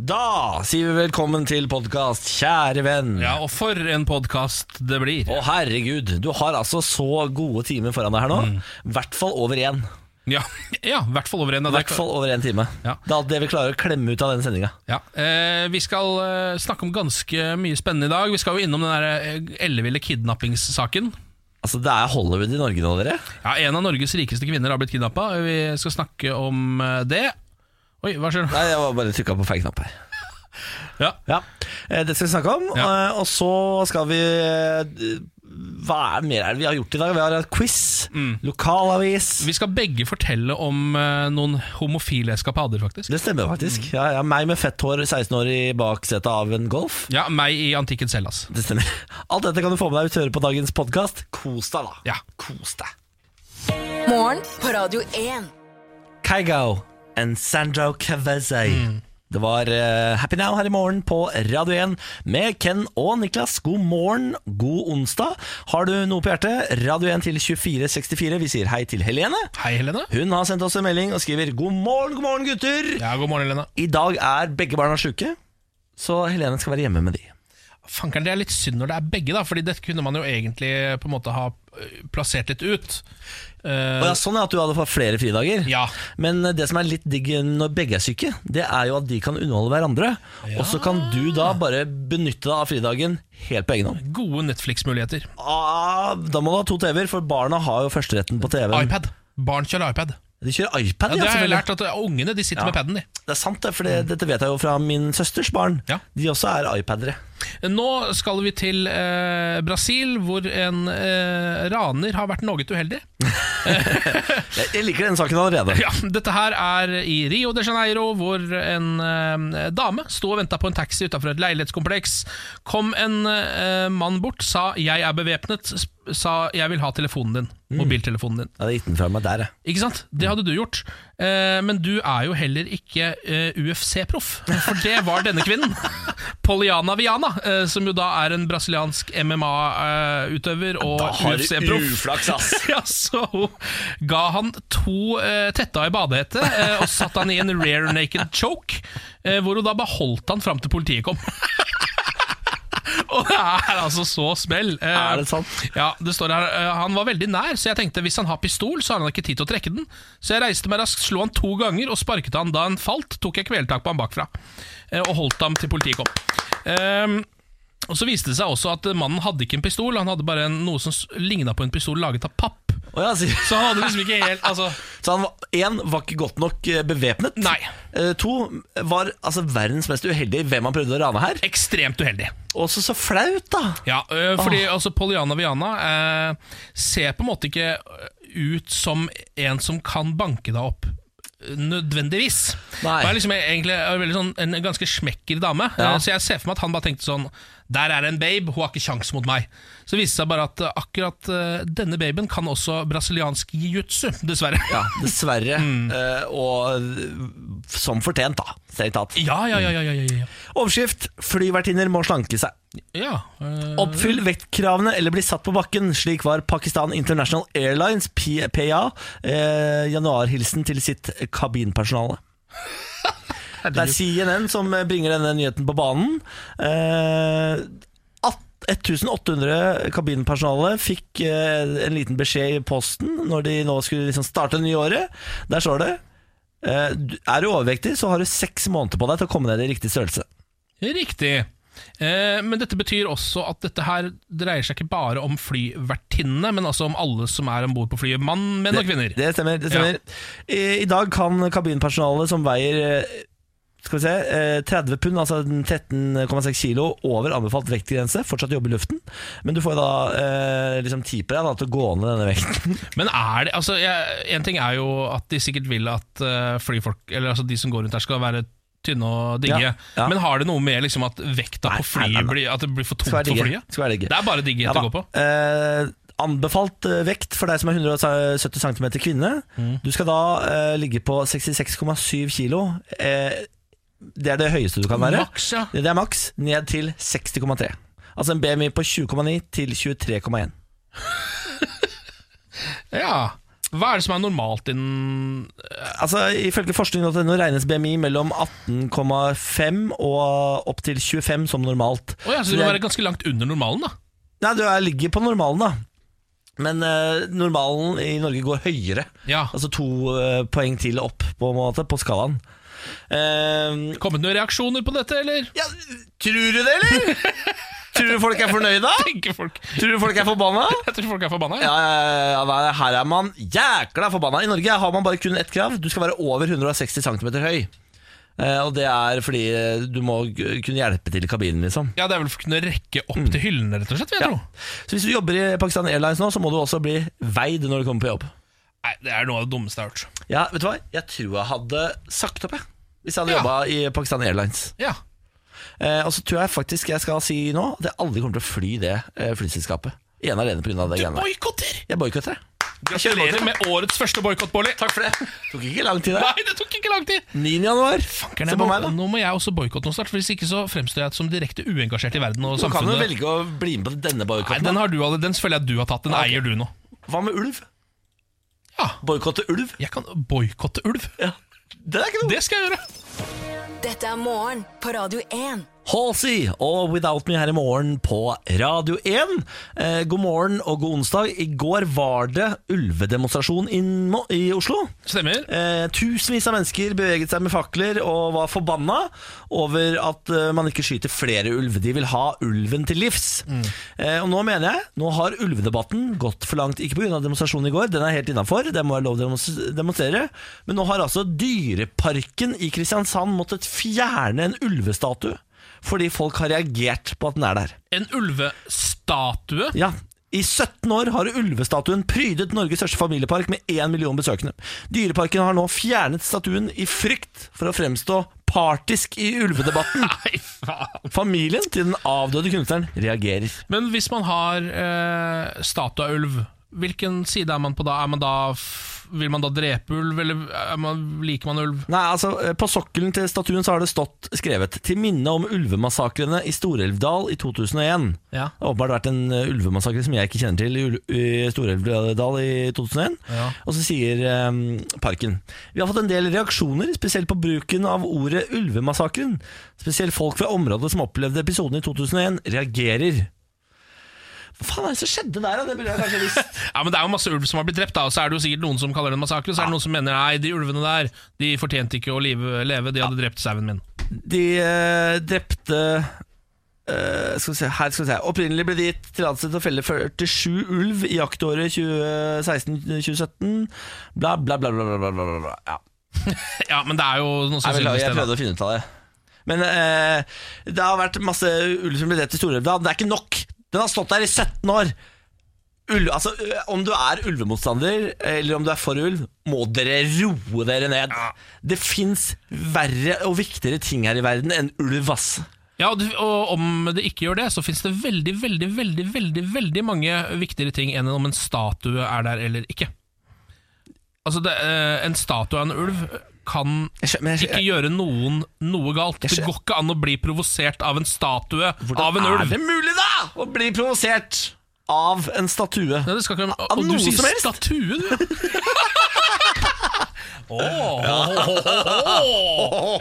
Da sier vi velkommen til podkast, kjære venn. Ja, og for en podkast det blir. Å herregud, du har altså så gode timer foran deg her nå. I hvert fall over én. Mm. Ja, ja i hvert fall over en av I hvert fall over én time. Ja. Det er alt det vi klarer å klemme ut av den sendinga. Ja. Eh, vi skal eh, snakke om ganske mye spennende i dag. Vi skal jo innom den der, eh, elleville kidnappingssaken. Altså, det er Hollywood i Norge nå, dere. Ja, En av Norges rikeste kvinner har blitt kidnappa. Vi skal snakke om eh, det. Oi, hva skjer nå? Nei, jeg var bare trykka på feil knapp her. Ja. Ja, eh, Det skal vi snakke om. Ja. eh, Og så skal vi eh, Hva er mer er det vi har gjort i dag? Vi har hatt quiz, lokalavis Mm. Vi skal begge fortelle om eh, noen homofile eskapader, faktisk. Det stemmer faktisk. Mm. Ja, ja, meg med fett hår, 16 år i baksetet av en Golf. Ja, meg i antikken Hellas. Det stemmer. Alt dette kan du få med deg ut høre på dagens podkast. Kos deg, da. Ja. Kos deg. Morgen på Radio 1. Kygo and Sandro Cavazzi. Det var eh, Happy Now her i morgen på Radio 1 med Ken og Niklas. God morgen, god onsdag. Har du noe på hjertet? Radio 1 til 2464. Vi sier hei til Helene. Hei, Helene. Hun har sendt oss en melding og skriver 'God morgen, god morgen, gutter'. Ja, God morgen, Helene. I dag er begge barna sjuke, så Helene skal være hjemme med de. Fankeren, Det er litt synd når det er begge, da Fordi dette kunne man jo egentlig på en måte ha eh, plassert litt ut. Eh, Og ja, sånn er at du hadde fått flere fridager. Ja. Men eh, det som er litt digg når begge er syke, det er jo at de kan underholde hverandre. Og så kan du da bare benytte deg av fridagen helt på egen hånd. Gode Netflix-muligheter. Ah, da må du ha to TV-er, for barna har jo førsteretten på TV-en. iPad. Barn kjører iPad. De kjører iPad, ja. Ja, det har jeg selvfølgelig. lært at uh, Ungene de sitter Ja. med paden. de. Mm. Det er sant, det, for det, dette vet jeg jo fra min søsters barn. Ja. De også er iPadere. Nå skal vi til eh, Brasil, hvor en eh, raner har vært noe uheldig. Jeg, jeg liker den saken allerede. Ja, Dette her er i Rio de Janeiro, hvor en eh, dame sto og venta på en taxi utafor et leilighetskompleks. Kom en eh, mann bort, sa 'jeg er bevæpnet', sp- sa 'jeg vil ha telefonen din'. Mobiltelefonen din. Jeg hadde gitt den fra meg der, jeg. Ikke sant? Det hadde du gjort. Eh, men du er jo heller ikke eh, UFC-proff, for det var denne kvinnen. Poliana Viana, eh, som jo da er en brasiliansk MMA-utøver eh, og UFC-proff. ass. Ja, så hun ga han to eh, tetta i badehette eh, og satt han i en rare naked choke, eh, hvor hun da beholdt han fram til politiet kom. Og det er altså så smell. Eh, Er det sant? Ja, det står her eh, Han var veldig nær, så jeg tenkte hvis han har pistol, så har han ikke tid til å trekke den. Så jeg reiste meg raskt, slo han to ganger og sparket han da han falt. Tok jeg kvelertak på han bakfra eh, og holdt ham til politiet kom. Ehm, og Så viste det seg også at eh, mannen hadde ikke en pistol, han hadde bare en, noe som ligna på en pistol laget av papp. Og jeg sier- Så han hadde liksom ikke helt Altså Så han var, en, var ikke godt nok eh, bevæpnet. Nei. Eh, to, var altså, verdens mest uheldige hvem han prøvde å rane her. ekstremt uheldig. Også så flaut, da! Ja, øh, fordi altså Poliana Viana eh, ser på en måte ikke øh, ut som en som kan banke deg opp. øh, Nødvendigvis. Nei. Hun er liksom egentlig en, veldig sånn, en ganske smekker dame. Ja. Eh, Så jeg ser for meg at han bare tenkte sånn Der er en babe, hun har ikke kjangs mot meg. Så viste det seg bare at eh, akkurat eh, denne baben kan også brasiliansk jiu-jitsu, dessverre. Ja, dessverre. Eh, og som fortjent, da. Strengt tatt. Ja, ja, ja, ja, ja, ja, ja. Overskrift 'Flyvertinner må slanke seg'. ja eh, Oppfyll vektkravene eller bli satt på bakken. Slik var Pakistan International Airlines, P- PA, eh, januarhilsen til sitt kabinpersonale. Det er CNN som bringer denne nyheten på banen. Eh, at- 1800 kabinpersonale fikk eh, en liten beskjed i posten når de nå skulle liksom starte det nye året. Der står det eh, du- Er du overvektig, så har du seks måneder på deg til å komme ned i riktig størrelse. Riktig. Eh, men dette betyr også at dette her dreier seg ikke bare om flyvertinnene, men altså om alle som er om bord på flyet. Mann, menn og kvinner. Det stemmer. det stemmer I, I dag kan kabinpersonalet som veier eh, skal vi se, eh, 30 pund, altså 13,6 kilo over anbefalt vektgrense, fortsatt jobbe i luften. Men du får jo da eh, liksom tid på deg da, til å gå ned denne vekten. Men er det altså, jeg, En ting er jo at de sikkert vil at eh, flyfolk, eller altså de som går rundt her, skal være tynne og digge. Ja, ja. Men har det noe med liksom at vekta Nei, på flyet nei, nei, nei. Blir, at det blir for tungt Skal for være digge. flyet? Skal være digge. Det er bare digge Ja, å da. gå på. Eh, Anbefalt eh, vekt for deg som er 170 cm kvinne. Mm. Du skal da eh, ligge på 66,7 kilo. Eh, det er det høyeste du kan være. Maks, ja. Det er maks. Ned til 60,3. Altså en BMI på 20,9 til 23,1. ja. Hva er det som er normalt innen Altså, Ifølge forskning.no regnes BMI mellom 18,5 og opp til 25 som normalt. Å ja, så Så du må det er- være ganske langt under normalen, da. Nei, du er, ligger på normalen, da. Men eh, normalen i Norge går høyere. Ja. Altså to eh, poeng til opp på, en måte, på skalaen. Eh, Kommet noen reaksjoner på dette, eller? ja, tror du det, eller? tror du folk er fornøyda? Tenker folk Tror du folk er forbanna? Jeg tror folk er forbanna. Ja, ja, ja, hva- her er man jækla forbanna. I Norge har man bare kun ett krav. Du skal være over 160 cm høy. Eh, og det er fordi eh, du må g- kunne hjelpe til i kabinen, liksom. Ja, det er vel for å kunne rekke opp til hyllene, rett og slett, vil jeg Mm. Ja. tro. Så hvis du jobber i Pakistan Airlines nå, så må du også bli veid når du kommer på jobb. Nei, det er noe av det dummeste jeg har hørt. Ja, vet du hva? Jeg tror jeg hadde sagt opp, jeg. Hvis jeg hadde Ja. jobba i Pakistan Airlines. Ja. Eh, og så tror jeg faktisk jeg skal si nå at jeg aldri kommer til å fly det eh, flyselskapet. Ene alene pga. det Du greiene der. boikotter! Jeg boikotter det. Gratulerer med årets første boikott, Bårli. Takk for det. Tok ikke lang tid, det. Nei, det tok ikke lang tid! 9. januar. Se Nå på må, meg, da. nå må jeg også boikotte noe snart, for hvis ikke så fremstår jeg som direkte uengasjert i verden og Du kan jo samfunnet. velge å bli med på denne Nei, boikotten. den, har du, alle- den føler jeg at du har tatt. Den Ja, ok. eier du nå. da. Hva med ulv? Ja. Boikotte ulv? Jeg kan boikotte ulv. Ja. Det er ikke noe. Det skal jeg gjøre. Dette er morgen på Radio 1. Halsey og Without Me her i morgen på Radio 1. Eh, god morgen og god onsdag. I går var det ulvedemonstrasjon inn mo- i Oslo. Stemmer. Eh, tusenvis av mennesker beveget seg med fakler og var forbanna over at eh, man ikke skyter flere ulv. De vil ha ulven til livs. Eh, og nå mener jeg, nå har ulvedebatten gått for langt. Ikke pga. demonstrasjonen i går, den er helt innafor, det må jeg lov til å demons- demonstrere. Men nå har altså Dyreparken i Kristiansand måttet fjerne en ulvestatue fordi folk har reagert på at den er der. En ulvestatue. Ja. I 17 år har ulvestatuen prydet Norges største familiepark med 1 million besøkende. Dyreparken har nå fjernet statuen i frykt for å fremstå partisk i ulvedebatten. Nei, faen. Familien til den avdøde kunstneren reagerer. Men hvis man har eh, statue av ulv, hvilken side er man på da? Er man da f vil man da drepe ulv, eller er man, liker man ulv? Nei, altså, eh, På sokkelen til statuen så har det stått skrevet 'Til minne om ulvemassakrene i Storelvdal i 2001'. Ja. Det har åpenbart vært en eh, ulvemassakre som jeg ikke kjenner til i, Ul- i Storelvdal i 2001. Ja. Og så sier eh, Parken Vi har fått en del reaksjoner, spesielt på bruken av ordet ulvemassakren. Spesielt folk fra området som opplevde episoden i 2001, reagerer. Hva faen er det som skjedde der, da? Det burde jeg kanskje visst. Ja, men Det er jo masse ulv som har blitt drept, da, og så er det jo sikkert noen som kaller det en massakre. Og så er det noen som mener nei, de ulvene der de fortjente ikke å live, leve, de hadde drept sauen min. De eh, drepte eh, skal vi se, her skal vi se Opprinnelig ble det gitt tillatelse til å felle 47 ulv i jaktåret 2016-2017. Bla, bla, bla, bla, bla, bla, bla, bla. Ja. Ja, men det er jo noe Jeg, beklager, jeg sannsynligvis det. da. prøvde å finne ut av det. Men eh, det har vært masse ulv som ble drept i Storelvdal. Det er ikke nok! Den har stått der i 17 år! Ulv, altså, ø, om du er ulvemotstander, eller om du er for ulv, må dere roe dere ned. Det fins verre og viktigere ting her i verden enn ulv, ass. Ja, og, du- og om det ikke gjør det, så fins det veldig, veldig, veldig veldig, veldig mange viktigere ting enn om en statue er der eller ikke. Altså, det, eh, En statue av en ulv kan Jeg skjø- men jeg skjø- ikke gjøre noen noe galt. Jeg Det skjø- går ikke an å bli provosert av en statue Hvordan av en ulv. Er det mulig, da?! Å bli provosert av en statue. Nei, det skal ikke være Av Og du noe sier som helst? statue, du! Åh.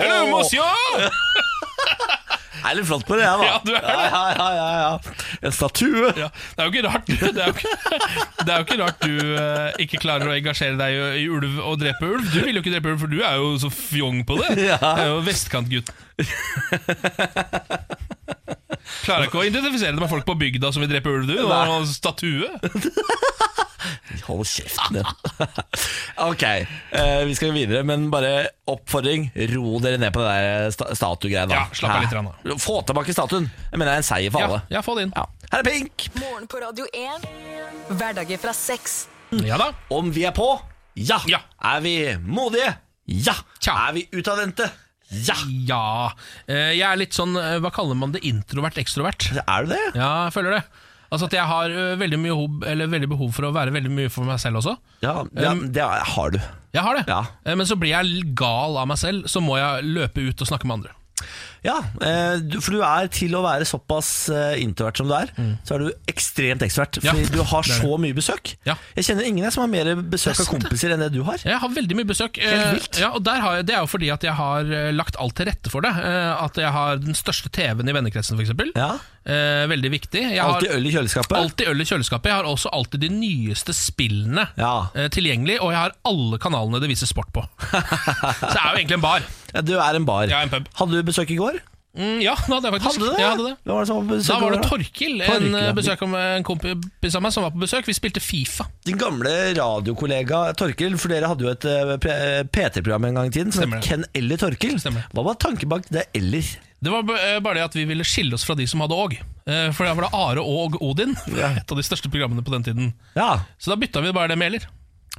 Hello, monsieur! Jeg er litt flott på det, jeg, da. Ja, du er det. Ja, ja, ja, ja, ja. En statue. Ja, det er jo ikke rart du, det er jo ikke, det er jo ikke rart du eh, ikke klarer å engasjere deg i, i ulv og drepe ulv. Du vil jo ikke drepe ulv, for du er jo så fjong på det. Ja. Du er jo vestkantgutt. Klarer ikke å identifisere deg med folk på bygda som vil drepe ulv, du. Og statue. Hold kjeften din. ok, eh, vi skal videre, men bare oppfordring. Ro dere ned på det der eh, sta statuegreiene. Ja, slapp av Hæ? litt grann, da. Få tilbake statuen. Jeg mener det er en seier for Ja, alle. ja, få det inn. Ja. Her er Pink! Morgen på Radio 1. Hverdager fra seks. Ja da. Om vi er på? Ja. Ja. Er vi modige? Ja. Tja. Er vi utadvendte? Ja! Ja. Eh, Jeg er litt sånn, eh, hva kaller man det, introvert-ekstrovert? Er du det? Ja, jeg føler det. Altså at jeg har eh, veldig mye hob, eller veldig behov for å være veldig mye for meg selv også. Ja, det, det har du. Jeg har det. Ja. Eh, Men så blir jeg gal av meg selv, så må jeg løpe ut og snakke med andre. Ja, eh, du- for du er til å være såpass eh, introvert som du er, så er du ekstremt ekstrovert. Ja, Fordi du har det er så mye besøk. Ja. Jeg kjenner ingen jeg som har mer besøk Det er av sant, kompiser enn det du har. Jeg har veldig mye besøk. eh, Ja, og der har jeg, Det er jo fordi at jeg har eh, lagt alt til rette for det. Eh, At jeg har den største TV-en i vennekretsen, f.eks. Ja. Veldig viktig. Jeg har Alltid øl i kjøleskapet. alltid øl i kjøleskapet. Jeg har også alltid de nyeste spillene Ja. eh, tilgjengelig. Og jeg har alle kanalene det vises sport på. Så det er jo egentlig en bar. Ja, du er en bar. Ja, en pub. Hadde du besøk i går? Mm, ja, det hadde jeg faktisk. Hadde du det? Ja, jeg hadde det. Hvem var det som var på besøk Da i var går, det Torkil, Torkil, en eh, ja. besøk om en kompis av meg som var på besøk. Vi spilte Fifa. Din gamle radiokollega Torkil, for dere hadde jo et eh, P- eh, PT-program en gang i tiden som Stemmer het det. Ken eller Torkil. Stemmer det. Hva var tanken bak det eller? Det var b- eh, bare det at vi ville skille oss fra de som hadde Åg. Eh, For da var det Are og Odin. Ja. Et av de største programmene på den tiden. Ja, Så da bytta vi bare det med Eller.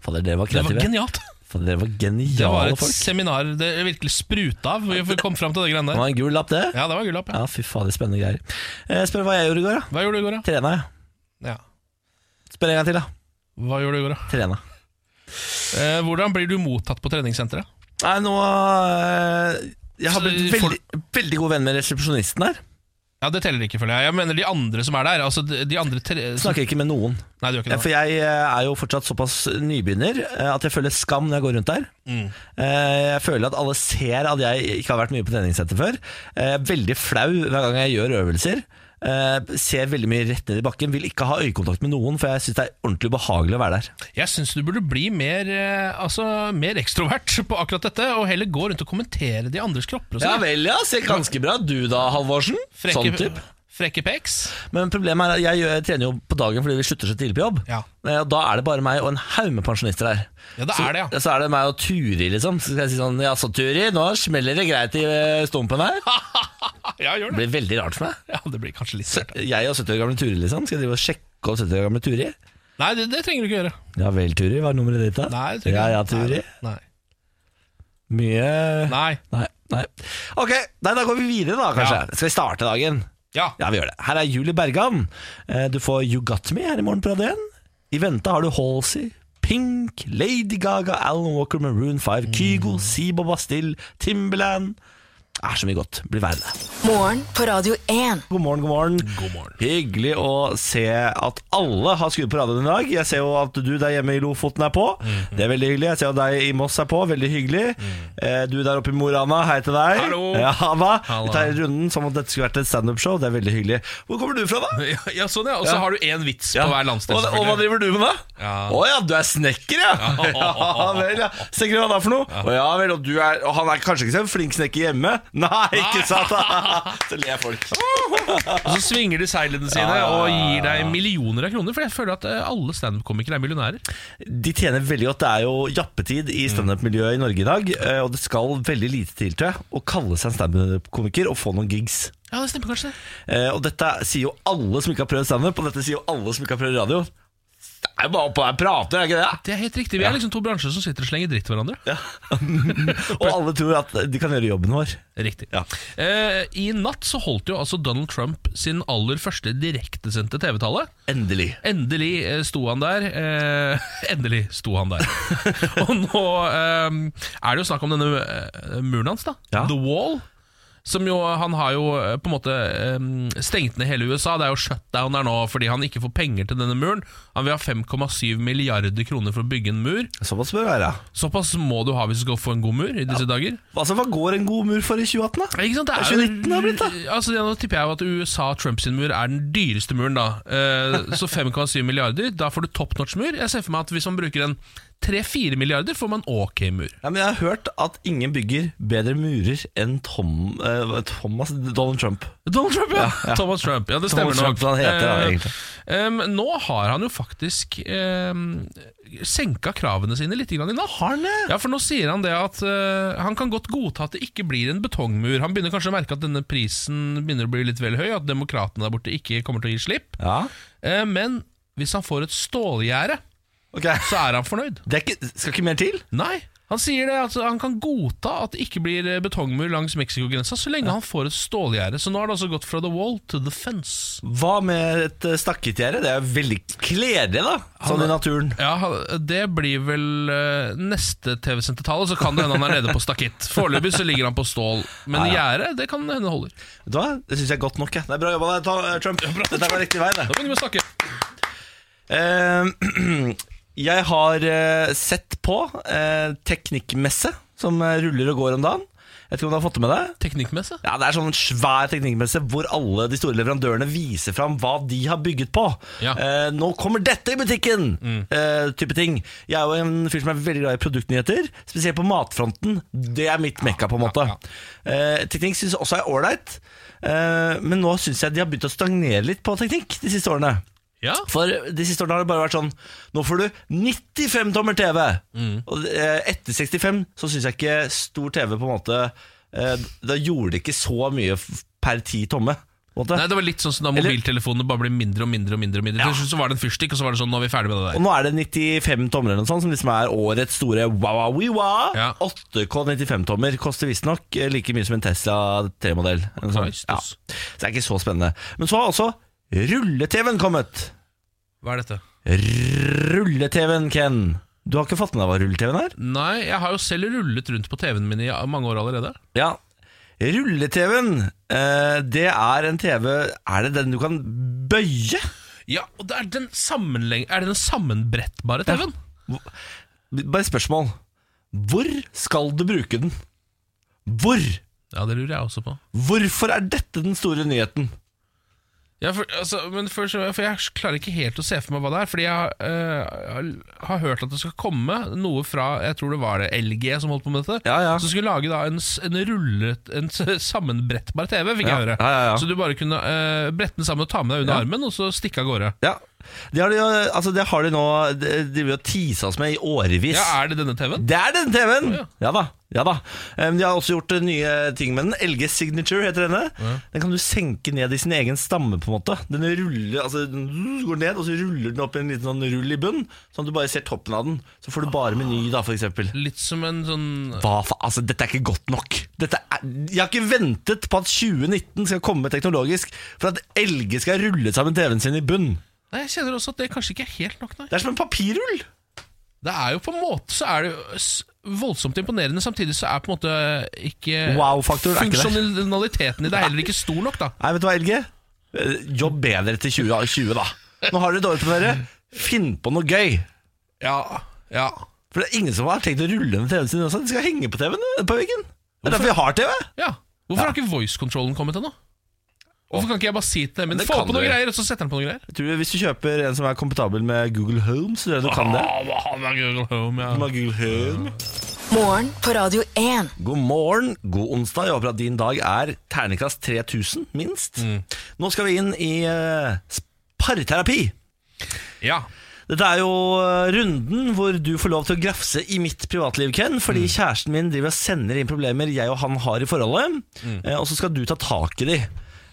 Fader, dere var Det var kreative. genialt. Fader, dere var Det var geniale et folk. seminar det virkelig spruta av. Vi kom fram til det greiene Det der. var en gul lapp, det. Ja, det var gullapp. Ja. Ja, fy fader, spennende greier. Eh, spør hva jeg gjorde i går, da. Hva gjorde du i går, da? Trena, jeg. Ja. Spør en gang til, da. Hva gjorde du i går, da? Trena. Eh, Hvordan blir du mottatt på treningssenteret? Nei, nå eh, Jeg har Så blitt får- veldig, veldig god venn med resepsjonisten her. Ja, Det teller ikke, føler jeg. Jeg mener de andre som er der. Altså de de andre tre... Snakker ikke med noen. Nei, du gjør ikke Eh, det. For jeg eh, er jo fortsatt såpass nybegynner eh, at jeg føler skam når jeg går rundt der. Mm. Eh, Jeg føler at alle ser at jeg ikke har vært mye på treningssenter før. Eh, Veldig flau hver gang jeg gjør øvelser. Eh, Ser veldig mye rett ned i bakken. Vil ikke ha øyekontakt med noen, for jeg syns det er ordentlig ubehagelig å være der. Jeg syns du burde bli mer, eh, altså, mer ekstrovert på akkurat dette, og heller gå rundt og kommentere de andres kropper. Og sånn. vel, ja. Ser ganske bra du da, Halvorsen. Sånn typ. frekke peks. Men problemet er at jeg, gjør- trener jo på dagen fordi vi slutter så tidlig på jobb. Ja. Eh, Og Da er det bare meg og en haug med pensjonister her. Ja, det så, er det, ja. så er det meg og Turi, liksom. Så skal jeg si sånn Ja, så Turi, nå smeller det greit i eh, stumpen her. Ja, gjør Det det. blir veldig rart for meg. Ja, det blir kanskje litt Så rart. Jeg og 70 år gamle Turi, liksom. Skal jeg drive og sjekke opp 70 år gamle Turi? Nei, det, det trenger du ikke gjøre. Ja vel, Turi. Hva er nummeret ditt, da? Nei, det trenger ja, ja, du ikke. Turi. Nei. Mye Nei. Nei. nei. Ok, nei, da går vi videre, da, kanskje. Ja. Skal vi starte dagen? Ja. Ja, vi gjør det. Her er Julie Bergan. Eh, Du får You Got Me her i morgen på Radio 1. I vente har du Halsey, Pink, Lady Gaga, Alan Walker, Maroon 5, Kygo, Mm. Sibo Bastille, Timberland. Det er så mye godt. Blir værende. Morgen på Radio 1. God morgen, god morgen. God morgen. Hyggelig å se at alle har skrudd på radioen i dag. Jeg ser jo at du der hjemme i Lofoten er på. Mhm. Det er veldig hyggelig. Jeg ser at deg i Moss er på. Veldig hyggelig. Eh, Du der oppe i Mo i Rana, hei til deg. Hallo. Ja, hva? Hallo. Vi tar runden som om dette skulle vært et standup-show. Det er veldig hyggelig. Hvor kommer du fra, da? Ja, ja, sånn ja. Og så Ja. har du én vits Ja. på hver landsdel. Og, og hva selvfølgelig. driver du med da? Å Ja. ja, du er snekker ja! ja vel, ja. Snekker hva da for noe? Å ja vel, og, du er, og han er kanskje ikke så flink snekker hjemme? Nei, ikke sant? så ler folk. Og så svinger de seilene sine og gir deg millioner av kroner, for jeg føler at eh, alle standup-komikere er millionærer. De tjener veldig godt. Det er jo jappetid Mm. i standup-miljøet i Norge i dag. eh, Og det skal veldig lite til til å kalle seg en standup-komiker og få noen gigs. Ja, det stemmer kanskje. Eh, Og dette sier jo alle som ikke har prøvd standup, og dette sier jo alle som ikke har prøvd radio. Det er jo bare oppå der prater, er det ikke det? Det er helt riktig. Vi er liksom to bransjer som sitter og slenger dritt til hverandre. Og alle tror at de kan gjøre jobben vår. Riktig. Ja. Eh, I natt så holdt jo altså Donald Trump sin aller første direktesendte TV-tale. Endelig. Endelig eh, sto han der. Eh, endelig sto han der. og nå eh, er det jo snakk om denne eh, muren hans, da. Ja. The Wall. Som jo, Han har jo eh, på en måte eh, stengt ned hele USA. Det er jo shutdown der nå fordi han ikke får penger til denne muren. Han vil ha 5,7 milliarder kroner for å bygge en mur. Såpass bør det være. Såpass må du ha hvis du skal få en god mur i disse dager. Altså, Hva går en god mur for i 2018, da? Ja, Ikke sant? Det Det er er 2019 det har blitt, da. Altså, ja, nå tipper jeg jo at USA Trumps sin mur er den dyreste muren, da. Eh, så 5,7 milliarder, da får du top notch mur. Jeg ser for meg at hvis man bruker en 3-4 milliarder, får man ok mur. Ja, men Jeg har hørt at ingen bygger bedre murer enn Tom, eh, Thomas Donald Trump. Donald Trump, ja. Thomas Trump, ja, det stemmer Donald Trump, nok. han heter det, Eh, egentlig. em, nå har han jo faktisk um, senka kravene sine litt grann i natt. Har han det? Ja, for nå sier han det at eh, han kan godt godta at det ikke blir en betongmur. Han begynner kanskje å merke at denne prisen begynner å bli litt vel høy, at demokratene der borte ikke kommer til å gi slipp. Ja. Eh, Men hvis han får et stålgjerde, Ok. så er han fornøyd. Det er ikke, skal ikke mer til? Nei. Han sier det at han kan godta at det ikke blir eh, betongmur langs Mexico-grensa så lenge han får et stålgjerde. Så nå har det altså gått fra the wall to the fence. Hva med et eh, stakket gjerde? Det er veldig kledelig, da. Sånn i naturen. Ja, han- Det blir vel eh, neste TV-sendte tall, så kan det hende han er nede på stakitt. Foreløpig så ligger han på stål, men gjerde det kan hende holder. Vet du hva? Det syns jeg er godt nok. Jeg. Det er bra jobba, der, Ta- Trump. Dette går riktig vei. det Da begynner vi å snakke. Eh, Jeg har eh, sett på eh, teknikkmesse som eh, ruller og går om dagen. Jeg vet ikke om du har fått det med deg? Teknikkmessig. Ja, Det er sånn svær teknikkmesse hvor alle de store leverandørene viser fram hva de har bygget på. Ja. Eh, 'Nå kommer dette i butikken!' eh, type ting. Jeg er jo en fyr som er veldig glad i produktnyheter, spesielt på matfronten. Det er mitt mekka, på en måte. Eh, teknikk syns jeg også er ålreit, eh, men nå syns jeg de har begynt å stagnere litt på teknikk de siste årene. Ja. For de siste årene har det bare vært sånn Nå får du 95 tommer TV Mm. Og eh, etter 65 så synes jeg ikke stor TV på en måte eh, Da gjorde det ikke så mye f- per 10 tomme på en måte. Nei, Det var litt sånn som da Eller- mobiltelefonene bare blir mindre og mindre. og mindre, og mindre. Til slutt så var det en fyrstikk, og så var det sånn, nå er vi ferdig med det Og der. nå er det 95 tommer eller noe sånt Som liksom er årets store wow-wow-wee-wa Ja. 8K 95 tommer Koster visst nok eh, like mye som en Tesla 3-modell eller noe sånt. ja. Christus. Så det er ikke så spennende Men så har også rulle-TV-en kommet Hva er dette? Rulle-TV-en, Ken Du har ikke fått med deg hva rulle-TV-en er? Nei, jeg har jo selv rullet rundt på TV-en min i mange år allerede. Ja. Rulle-TV-en, eh, det er en TV Er det den du kan bøye? Ja, og det er den sammenleng... Er det den sammenbrettbare TV-en? Bare et spørsmål. Hvor skal du bruke den? Hvor? Ja, det lurer jeg også på. Hvorfor er dette den store nyheten? Ja, for, altså, men først, for jeg klarer ikke helt å se for meg hva det er. Fordi jeg eh, har hørt at det skal komme noe fra Jeg tror det var det LG som holdt på med dette. Ja, ja. Som skulle lage da en, s- en rullet En s- sammenbrettbar TV, fikk Ja, jeg høre. ja, ja, ja. Så du bare kunne eh, brette den sammen og ta med deg under Ja. armen, og så stikke av gårde. Ja, Det har de, jo- altså det har de nå De de har jo tisa oss med i årevis. Ja, Er det denne TV-en? Det er den TV-en! Å, Ja da. ja da Eh, De har også gjort eh, nye ting med den. LG Signature heter denne. Den kan du senke ned i sin egen stamme. på en måte Den ruller, altså den går ned, og så ruller den opp i en liten sånn rull i bunnen. Sånn at du bare ser toppen av den. Så får du bare meny, da, for eksempel. Litt som en sånn Hva fa altså, dette er ikke godt nok. Dette er, jeg har ikke ventet på at 2019 skal komme teknologisk for at LG skal rulle sammen TV-en sin i bunn. Nei, Jeg kjenner også at det kanskje ikke er helt nok, nei. Det er som en papirrull! Det er jo på en måte så er det jo s- voldsomt imponerende, samtidig så er på en måte ikke Wow-faktoren er ikke der. Funksjonaliteten i det er heller ikke stor nok, da. Nei, vet du hva, LG? Eh, Jobb bedre til 2020, da. Nå har dere dårlig på dere. Finn på noe gøy. Ja, ja. For det er ingen som har tenkt å rulle ned TV-en sin også. De skal henge på TV-en eh, på veggen. Det er derfor vi har TV. ja. Hvorfor har ikke voice-kontrollen kommet ennå? Hvorfor kan ikke jeg bare si til dem men Det få kan på du noen jo. greier, og så setter han på noen greier? Jeg tror Hvis du kjøper en som er komfortabel med Google Home, så tror jeg du kan det. Ah, hva han er Google Home, ja. Med Google Home. Morgen på Radio 1. God morgen, god onsdag. Jeg håper at din dag er ternekast 3000, minst. Nå skal vi inn i eh, parterapi. ja. Dette er jo eh, runden hvor du får lov til å grafse i mitt privatliv, Ken. Fordi Mm. kjæresten min driver og sender inn problemer jeg og han har i forholdet. Mm. eh, Og så skal du ta tak i de.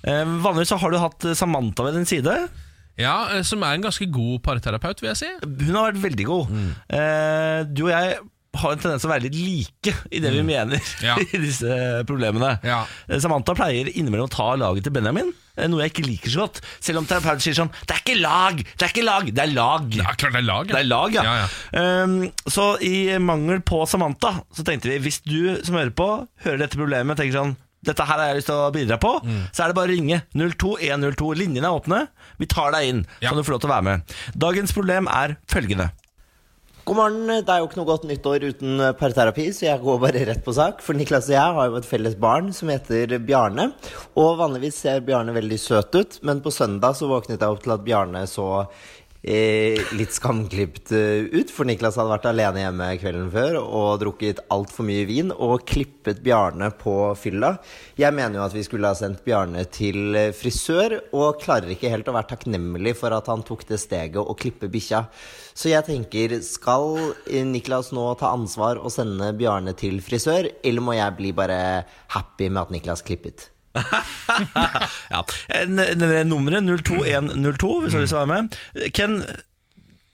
Eh, Vanligvis så har du hatt eh, Samantha ved din side. ja, eh, som er en ganske god parterapeut, vil jeg si. Hun har vært veldig god. Mm. Eh, Du og jeg har en tendens til å være litt like i det vi mener Mm. Ja. i disse problemene. Ja. Eh, Samantha pleier innimellom å ta laget til Benjamin, eh, noe jeg ikke liker så godt. Selv om terapeuten sier sånn 'Det er ikke lag! Det er ikke lag! Det er lag!' Ja, klart det er lag. Det er lag, ja. Ja, Ehm, så i mangel på Samantha, så tenkte vi hvis du som hører på, hører dette problemet og tenker sånn dette her har jeg lyst til å bidra på. Mm. Så er det bare å ringe 02102. Linjene er åpne. Vi tar deg inn, Ja. kan du få lov til å være med. Dagens problem er følgende. God morgen. Det er jo ikke noe godt nyttår uten eh, parterapi, så jeg går bare rett på sak. For Niklas og jeg har jo et felles barn som heter Bjarne. Og vanligvis ser Bjarne veldig søt ut, men på søndag så våknet jeg opp til at Bjarne så eh, litt skamklipt eh, ut. For Niklas hadde vært alene hjemme kvelden før og drukket altfor mye vin og klippet Bjarne på fylla. Jeg mener jo at vi skulle ha sendt Bjarne til eh, frisør, og klarer ikke helt å være takknemlig for at han tok det steget å klippe bikkja. Så jeg tenker, skal eh, Niklas nå ta ansvar og sende Bjarne til frisør, eller må jeg bli bare happy med at Niklas klippet? ja. Eh, n- n- Nummeret 02102, hvis du har lyst til å være med. Ken,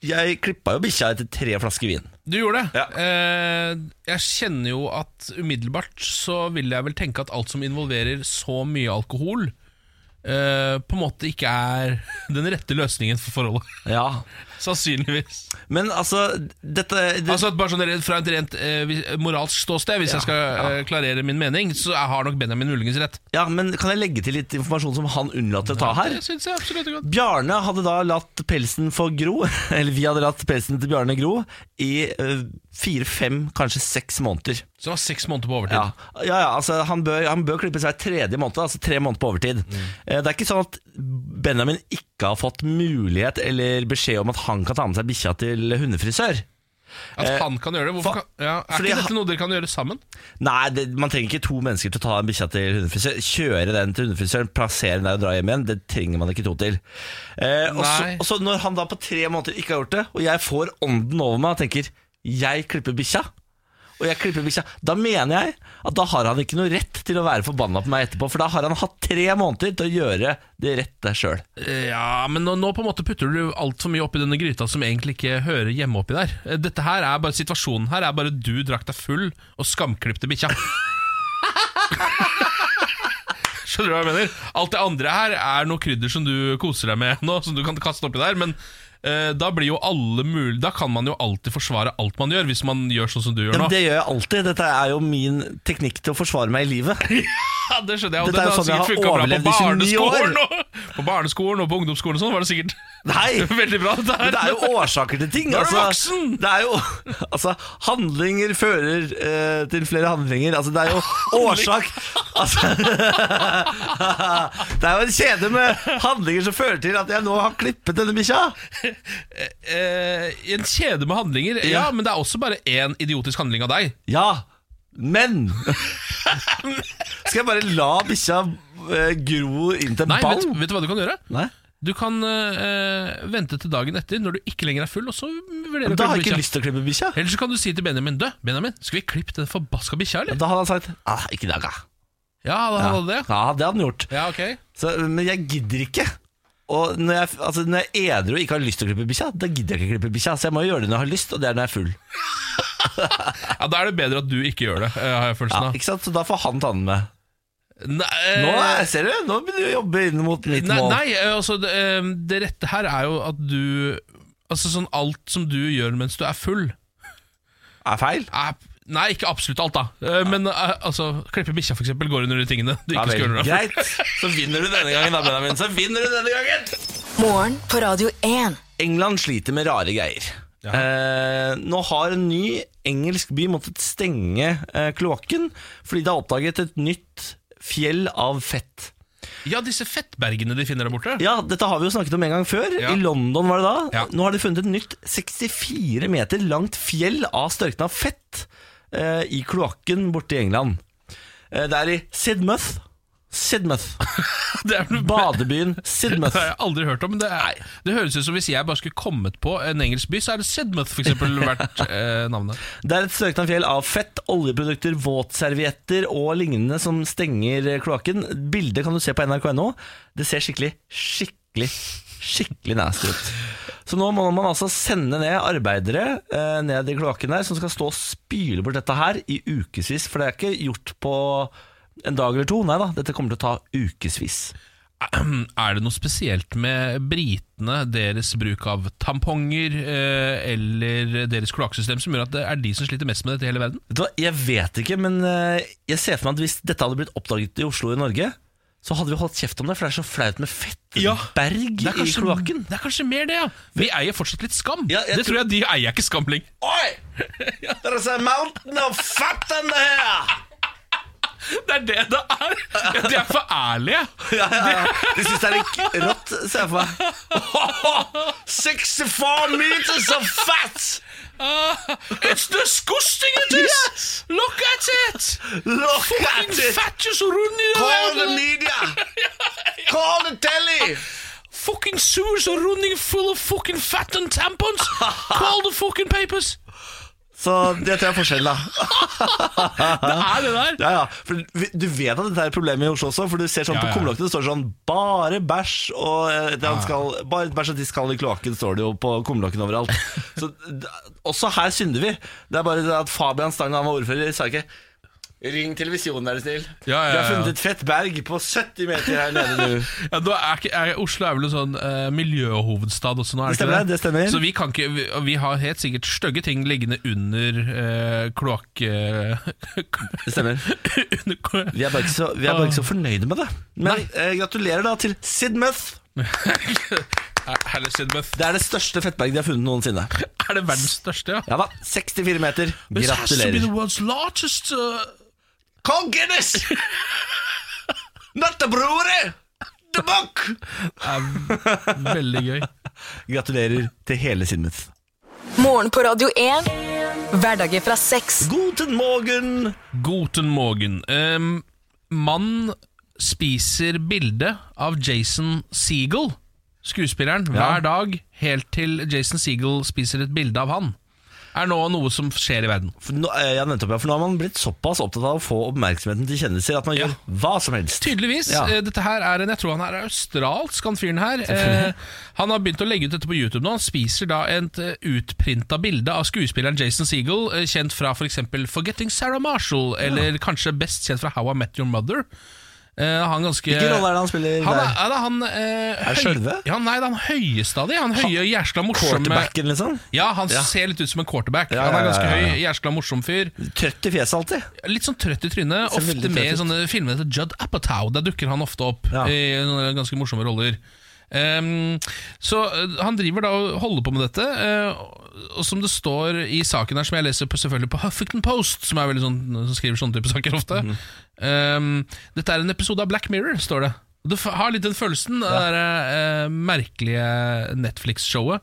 jeg klippa jo bikkja etter tre flasker vin. Du gjorde det. Ja. Eh, jeg kjenner jo at umiddelbart så vil jeg vel tenke at alt som involverer så mye alkohol, eh, på en måte ikke er den rette løsningen for forholdet. Ja. Sannsynligvis. Men altså, dette det, Altså at bare sånn rent- Fra et rent eh, vi- moralsk ståsted, hvis jeg skal eh, klarere min mening, så jeg har nok Benjamin muligens rett. Ja, men kan jeg legge til litt informasjon som han unnlater å ta her? Det synes jeg absolutt er godt. Bjarne hadde da latt pelsen få gro, eller vi hadde latt pelsen til Bjarne gro, i eh, fire, fem, kanskje seks måneder. Så det var seks måneder på overtid. Ja, ja, ja altså han bør, han bør klippe seg tredje måned, altså tre måneder på overtid. Eh, Det er ikke sånn at Benjamin ikke har fått mulighet eller beskjed om at han kan ta med seg bikkja til hundefrisør. At han kan gjøre det. for- Hvorfor kan, ja, er Eh, fordi ikke han- dette noe dere kan gjøre sammen? Nei, det, man trenger ikke to mennesker til å ta en bikkja til hundefrisør. Kjøre den til hundefrisøren, plassere den der og dra hjem igjen. Det trenger man ikke to til. Eh, og, så, Nei. og så når han da på tre måneder ikke har gjort det, og jeg får ånden over meg og tenker 'jeg klipper bikkja', og jeg klipper bikkja, da mener jeg at da har han ikke noe rett til å være forbanna på meg etterpå, for da har han hatt tre måneder til å gjøre det rette sjøl. Eh, Ja, men nå, nå på en måte putter du altfor mye oppi denne gryta som egentlig ikke hører hjemme oppi der. Eh, Dette her er bare Situasjonen her er bare du drakk deg full og skamklipte bikkja. Skjønner du hva jeg mener? Alt det andre her er noe krydder som du koser deg med nå, som du kan kaste oppi der, men eh, da blir jo alle mulig Da kan man jo alltid forsvare alt man gjør, hvis man gjør sånn som du gjør nå. Det gjør jeg alltid. Dette er jo min teknikk til å forsvare meg i livet. Ja, det skjønner jeg. Dette Og den er jo har sånn jeg sikkert har funka bra på overlevd i 29 år. barneskolen, og, på barneskolen og på ungdomsskolen og sånn, var det sikkert Nei! veldig bra. dette her. Men det er jo årsaker til ting. Da er du altså, voksen! Det er jo, altså, handlinger fører eh, til flere handlinger. Altså, det er jo årsak altså, Det er jo en kjede med handlinger som fører til at jeg nå har klippet denne bikkja. eh, i en kjede med handlinger. Ja, Ja. men det er også bare én idiotisk handling av deg. Ja, men Skal jeg bare la bikkja eh, gro inn til en Nei, vet, ball? vet du hva du kan gjøre? Nei. Du kan eh, vente til dagen etter, når du ikke lenger er full, og så vurdere Men da har jeg bikkja. ikke lyst til å klippe bikkja. Eller så kan du si til Benjamin Dø, Benjamin, skal vi klippe den forbaska bikkja, eller? Da hadde han sagt ah, 'ikke i dag', ja. Ja, da Ja, hadde det. ja, det hadde han gjort. Ja, ok. Så, men jeg gidder ikke. Og når jeg, altså, når jeg er edru og ikke har lyst til å klippe bikkja, da gidder jeg ikke klippe bikkja. Så jeg må jo gjøre det når jeg har lyst, og det er når jeg er full. Ja, Da er det bedre at du ikke gjør det, eh, har jeg Ja, følelsen av. ikke sant? Så da får han ta den med. Nei, Nå eh, er- ser du, nå begynner du å jobbe inn mot mitt Nei, mål. nei eh, altså det, eh, det rette her er jo at du Altså sånn alt som du gjør mens du er full Er feil? er, Nei, ikke absolutt alt da Eh, Men eh, altså, klippe bikkja for eksempel går under de tingene du Ja ikke vel, skal gjøre Greit. Så vinner du denne gangen, da, Benjamin. Så vinner du denne gangen! Morgen på Radio 1. England sliter med rare greier. Eh, nå har en ny engelsk by måttet stenge eh, kloakken fordi det er oppdaget et nytt fjell av fett. Ja, disse fettbergene de finner der borte Ja, dette har vi jo snakket om en gang før. Ja. I London var det da. Ja. Nå har de funnet et nytt 64 meter langt fjell av størkna fett eh, i kloakken borte i England. Eh, det er i Sidmouth. Sidmouth. Det er vel Badebyen det Sidmouth. har jeg aldri hørt om, men det, er, det høres ut som hvis jeg bare skulle kommet på en engelsk by, så er det Sedmouth for eksempel vært eh, navnet. Det er et størkna fjell av fett, oljeprodukter, våtservietter og lignende som stenger eh, kloakken. Bildet kan du se på nrk.no. Det ser skikkelig, skikkelig, skikkelig nasty ut. Så nå må man altså sende ned arbeidere eh, ned i kloakken der, som skal stå og spyle bort dette her i ukevis. For det er ikke gjort på en dag eller to. Nei da, dette kommer til å ta ukevis. Hm, Er det noe spesielt med britene, deres bruk av tamponger eh, eller deres kloakksystem som gjør at det er de som sliter mest med dette i hele verden? Vet du hva, Jeg vet ikke, men eh, jeg ser for meg at hvis dette hadde blitt oppdaget i Oslo og i Norge, så hadde vi holdt kjeft om det, for det er så flaut med Ja. fettberg Det er, i kanskje, kloakken. det er kanskje mer det, ja. Vi eier fortsatt litt skam. Ja, jeg det tror jeg de eier ikke skam lenger. Oi! There's a mountain of fat under here! Det er det det er! Ja, De er for ærlige. Ja, ja, ja. De syns det er litt rått, ser jeg for meg. 64 meters of fat! Ah, it's disgusting, it is! Look at it! Look at Fucking it! fattiest rund i Call the verden! media! Call the telly! Fucking sewers are running full of fucking fat and tampons! Call the fucking papers! Så det tror jeg er forskjellen, da. Det er det der! Ja, ja. For vi- du vet at dette er et problem i Oslo også, for du ser sånn Ja, ja. på kumlokkene det står sånn 'bare bæsj' og eh, det han skal, 'bare bæsj og tiss skal i kloakken', står det jo på kumlokken overalt. Så d- også her synder vi. Det er bare det at Fabian Stang, da han var ordfører, sa ikke Ring televisjonen, er du snill. Ja, Vi ja, har ja. funnet et fett berg på 70 meter her nede nå. Ja, da er ikke, er, Oslo er vel en sånn eh, miljøhovedstad også nå? Er Det stemmer, ikke det stemmer. Så vi, kan ikke, vi, vi har helt sikkert stygge ting liggende under uh, kloakk... Det stemmer. under kloakk- Vi er bare ikke så, vi er bare ikke så Ah. fornøyde med det. Men eh, gratulerer da til Sidmouth. Herlig Sidmouth. Det er det største fettberget de har funnet noensinne. Er det verdens største, ja? Ja da, 64 meter. This has to be Gratulerer. the world's largest uh, Kong Guinness! Nattebrore! The Buck! Veldig gøy. Gratulerer til hele Sidmouth. Morgen på Radio 1. Hverdager fra seks. Guten morgen! Guten morgen. Um, mann spiser bilde av Jason Segel, skuespilleren, hver dag helt til Jason Segel spiser et bilde av han. Er nå noe som skjer i verden. For nå, eh, ja, nettopp, ja, for nå har man blitt såpass opptatt av å få oppmerksomheten til kjendiser at man Ja. gjør hva som helst. Tydeligvis. Ja. eh, Dette her er en, Jeg tror han er australsk, han fyren her. Eh, han har begynt å legge ut dette på YouTube nå. Han spiser da et eh, utprinta bilde av skuespilleren Jason Segel, eh, kjent fra f.eks. For 'Forgetting Sarah Marshall', eller kanskje best kjent fra 'How I Met Your Mother'. Eh, han ganske Hvilken rolle er det han spiller Han er, der? er det han eh, Er det høy- skjølve? Ja, nei, det er han høyeste av de. Han høye, jæskla morsomme Quarterbacken, liksom. Ja, han Ja. ser litt ut som en quarterback. Ja, Han ja, er ganske ja, ja, ja. høy, jæskla morsom fyr. Trøtt i fjeset alltid. Litt sånn trøtt i trynet. Ser Ofte veldig med i trøtt ut. sånne filmer til Judd Apatow. Der dukker han ofte opp Ja. i noen ganske morsomme roller. Ehm, så eh, han driver da og holder på med dette. eh, og som det står i saken her, som jeg leser på, selvfølgelig på Huffington Post, som, er veldig sånn, som skriver sånne type saker ofte Mhm. ehm, Dette er en episode av Black Mirror, står det. Og Det f- har litt den følelsen, det der, eh, merkelige Netflix-showet.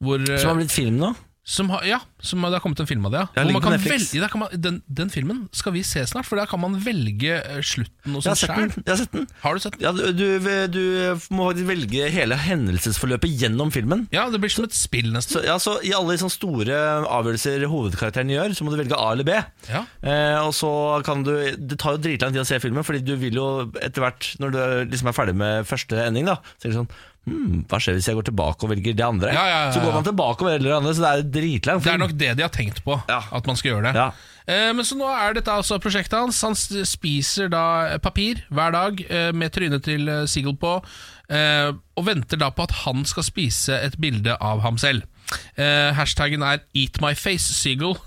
Hvor, eh, Som har blitt film nå. som har, ja, som har, det har kommet en film av det. Ja. Ja, Hvor ligger man på kan Netflix. velge, der kan man, den, den filmen skal vi se snart, for der kan man velge eh, slutten og Jeg har sånn sett sjæl. den. Jeg har sett den. Har du sett den? Ja, du, du, du må faktisk velge hele hendelsesforløpet gjennom filmen. Ja, det blir som et spill, nesten. Så, ja, så I alle sånne store avgjørelser hovedkarakteren gjør, så må du velge A eller B. Ja. Eh, og så kan du Det tar jo dritlang tid å se filmen, Fordi du vil jo etter hvert, når du liksom er ferdig med første ending, da Så er det sånn hmm, Hva skjer hvis jeg går tilbake og velger det andre? Ja, ja, ja, Så går ja. man tilbake og velger det andre, så det er dritlang Det er film. nok det de har tenkt på, Ja. at man skal gjøre det. Ja. Eh, men så nå er dette altså prosjektet hans. Han s- spiser da eh, papir hver dag eh, med trynet til eh, Sigel på, eh, og venter da på at han skal spise et bilde av ham selv. Eh, hashtaggen er 'Eat my face, Sigel'.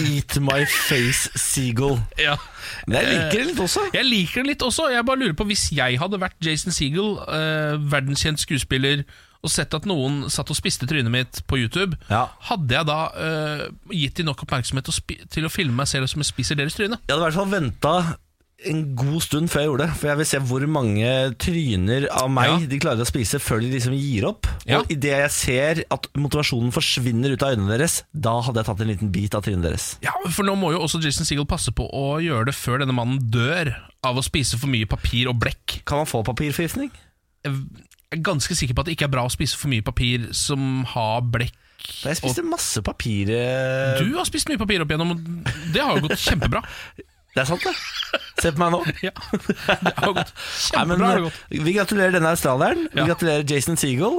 Eat my face, seagull. Ja. Men Eh, jeg liker det litt også. Jeg liker den litt også. Jeg bare lurer på Hvis jeg hadde vært Jason Segel, eh, verdenskjent skuespiller, og sett at noen satt og spiste trynet mitt på YouTube, Ja. hadde jeg da eh, gitt de nok oppmerksomhet å spi- til å filme meg selv som jeg spiser deres tryne? Jeg hadde i hvert fall venta en god stund før jeg gjorde det. For jeg vil se hvor mange tryner av meg Ja. de klarer å spise før de liksom gir opp. Ja. Og idet jeg ser at motivasjonen forsvinner ut av øynene deres, da hadde jeg tatt en liten bit av trynet deres. Ja, For nå må jo også Jason Segel passe på å gjøre det før denne mannen dør av å spise for mye papir og blekk. Kan man få papirforgiftning? Jeg er ganske sikker på at det ikke er bra å spise for mye papir som har blekk. Da jeg spiste masse papir eh, Du har spist mye papir opp igjennom, og det har jo gått kjempebra. Det er sant, det. Se på meg nå. Ja, det har gått Nei, men, eh, kjempebra. har det gått. vi gratulerer denne australieren, Ja. Mm. vi gratulerer Jason Seagull,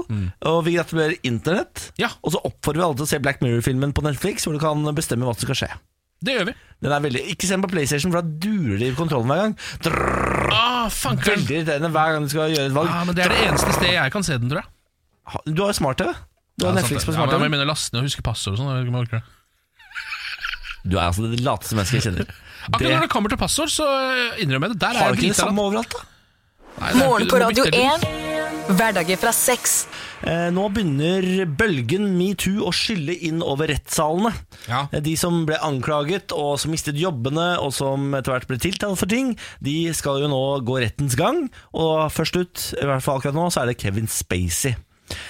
og vi gratulerer Internett. Ja. Og så oppfordrer vi alle til å se Black Mirror-filmen på Netflix, hvor du kan bestemme hva som skal skje. Det gjør vi. Den er veldig, Ikke se den på PlayStation, for da durer det i kontrollen hver gang. Drrr, Ah, fankeren. Veldig irriterende hver gang du skal gjøre et valg. Ja, men Det er det eneste stedet jeg kan se den, tror jeg. Ha- Du har jo smart-TV. Du har Ja, sant Netflix det. på Ja, men jeg må smart-TV. begynne å laste ned og huske passord og sånn. jeg vet ikke om jeg orker det. Du er altså det lateste mennesket jeg kjenner. Akkurat Det- når det kommer til passord, så innrømmer jeg det. Der Har du er jeg ikke det drita. samme overalt, da? Morgen på Radio 1. Hverdager fra seks. Eh, nå begynner bølgen metoo å skylle inn over rettssalene. Ja. Eh, De som ble anklaget og som mistet jobbene og som etter hvert ble tiltalt for ting, de skal jo nå gå rettens gang. Og først ut, i hvert fall akkurat nå, så er det Kevin Spacey.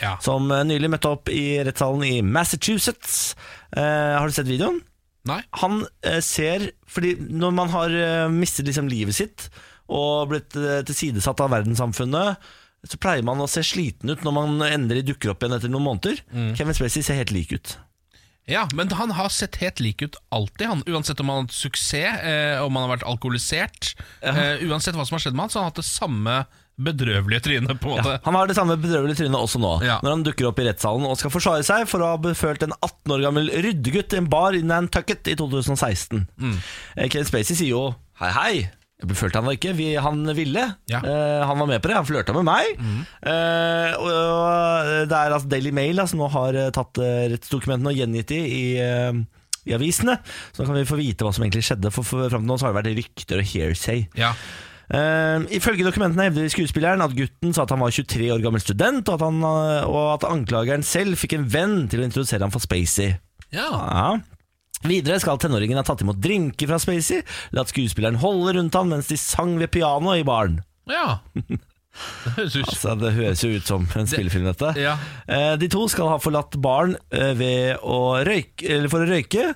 Ja. Som eh, nylig møtte opp i rettssalen i Massachusetts. Eh, har du sett videoen? Nei. han eh, ser Fordi når man har eh, mistet liksom livet sitt og blitt eh, tilsidesatt av verdenssamfunnet, så pleier man å se sliten ut når man endelig dukker opp igjen etter noen måneder. Kevin Spacey ser helt lik ut. Ja, men han har sett helt lik ut alltid, han. Uansett om han har hatt suksess, eh, om han har vært alkoholisert. Eh, uansett hva som har skjedd med han, så har han hatt det samme bedrøvelige trynet, på en måte. Ja, han har det samme bedrøvelige trynet også nå, Ja. når han dukker opp i rettssalen og skal forsvare seg for å ha befølt en 18 år gammel ryddegutt i en bar i Nantucket i 2016. Mm. Eh, Kevin Spacey sier jo hei, hei. Jeg befølte han da ikke. Vi, han ville. Ja. Mm. Eh, han var med på det. Han flørta med meg. Eh, og, og det er altså Daily Mail da, som nå har eh, tatt eh, rettsdokumentene og gjengitt de i eh, i avisene, så da kan vi få vite hva som egentlig skjedde. For, for Fram til nå så har det vært rykter og hearsay. Ja. Uh, ifølge dokumentene hevder skuespilleren at gutten sa at han var 23 år gammel student, og at, han, eh, og at anklageren selv fikk en venn til å introdusere ham for Spacey. Ja. Ja. Videre skal tenåringen ha tatt imot drinker fra Spacey, latt skuespilleren holde rundt han mens de sang ved pianoet i baren. ja. Det høres ut Altså, det høres jo ut som en spillefilm, dette. ja. Eh, De to skal ha forlatt baren eh, ved å røyke, eller for å røyke,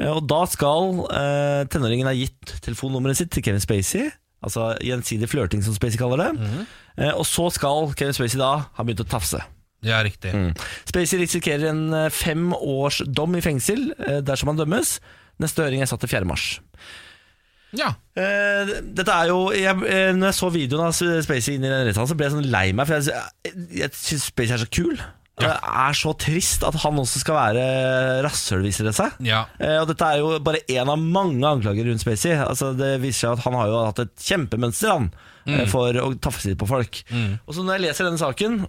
eh, og da skal eh, tenåringen ha gitt telefonnummeret sitt til Kevin Spacey. Altså gjensidig flørting, som Spacey kaller det. Eh, Og så skal Kevin Spacey da ha begynt å tafse. ja, riktig. Mm. Spacey risikerer en eh, fem års dom i fengsel eh, dersom han dømmes. Neste høring er satt til 4. mars. Ja. Eh, dette er jo jeg, eh, Når jeg så videoen av Spacey inn i den rettssalen, så ble jeg sånn lei meg. For jeg, jeg syns Spacey er så kul. Det er så trist at han også skal være rasshøl, viser det seg. Ja. Eh, og dette er jo bare én av mange anklager rundt Spacey. Altså, det viser seg at han har jo hatt et kjempemønster han, Mm. eh, for å tafse litt på folk. Og så når jeg leser denne saken,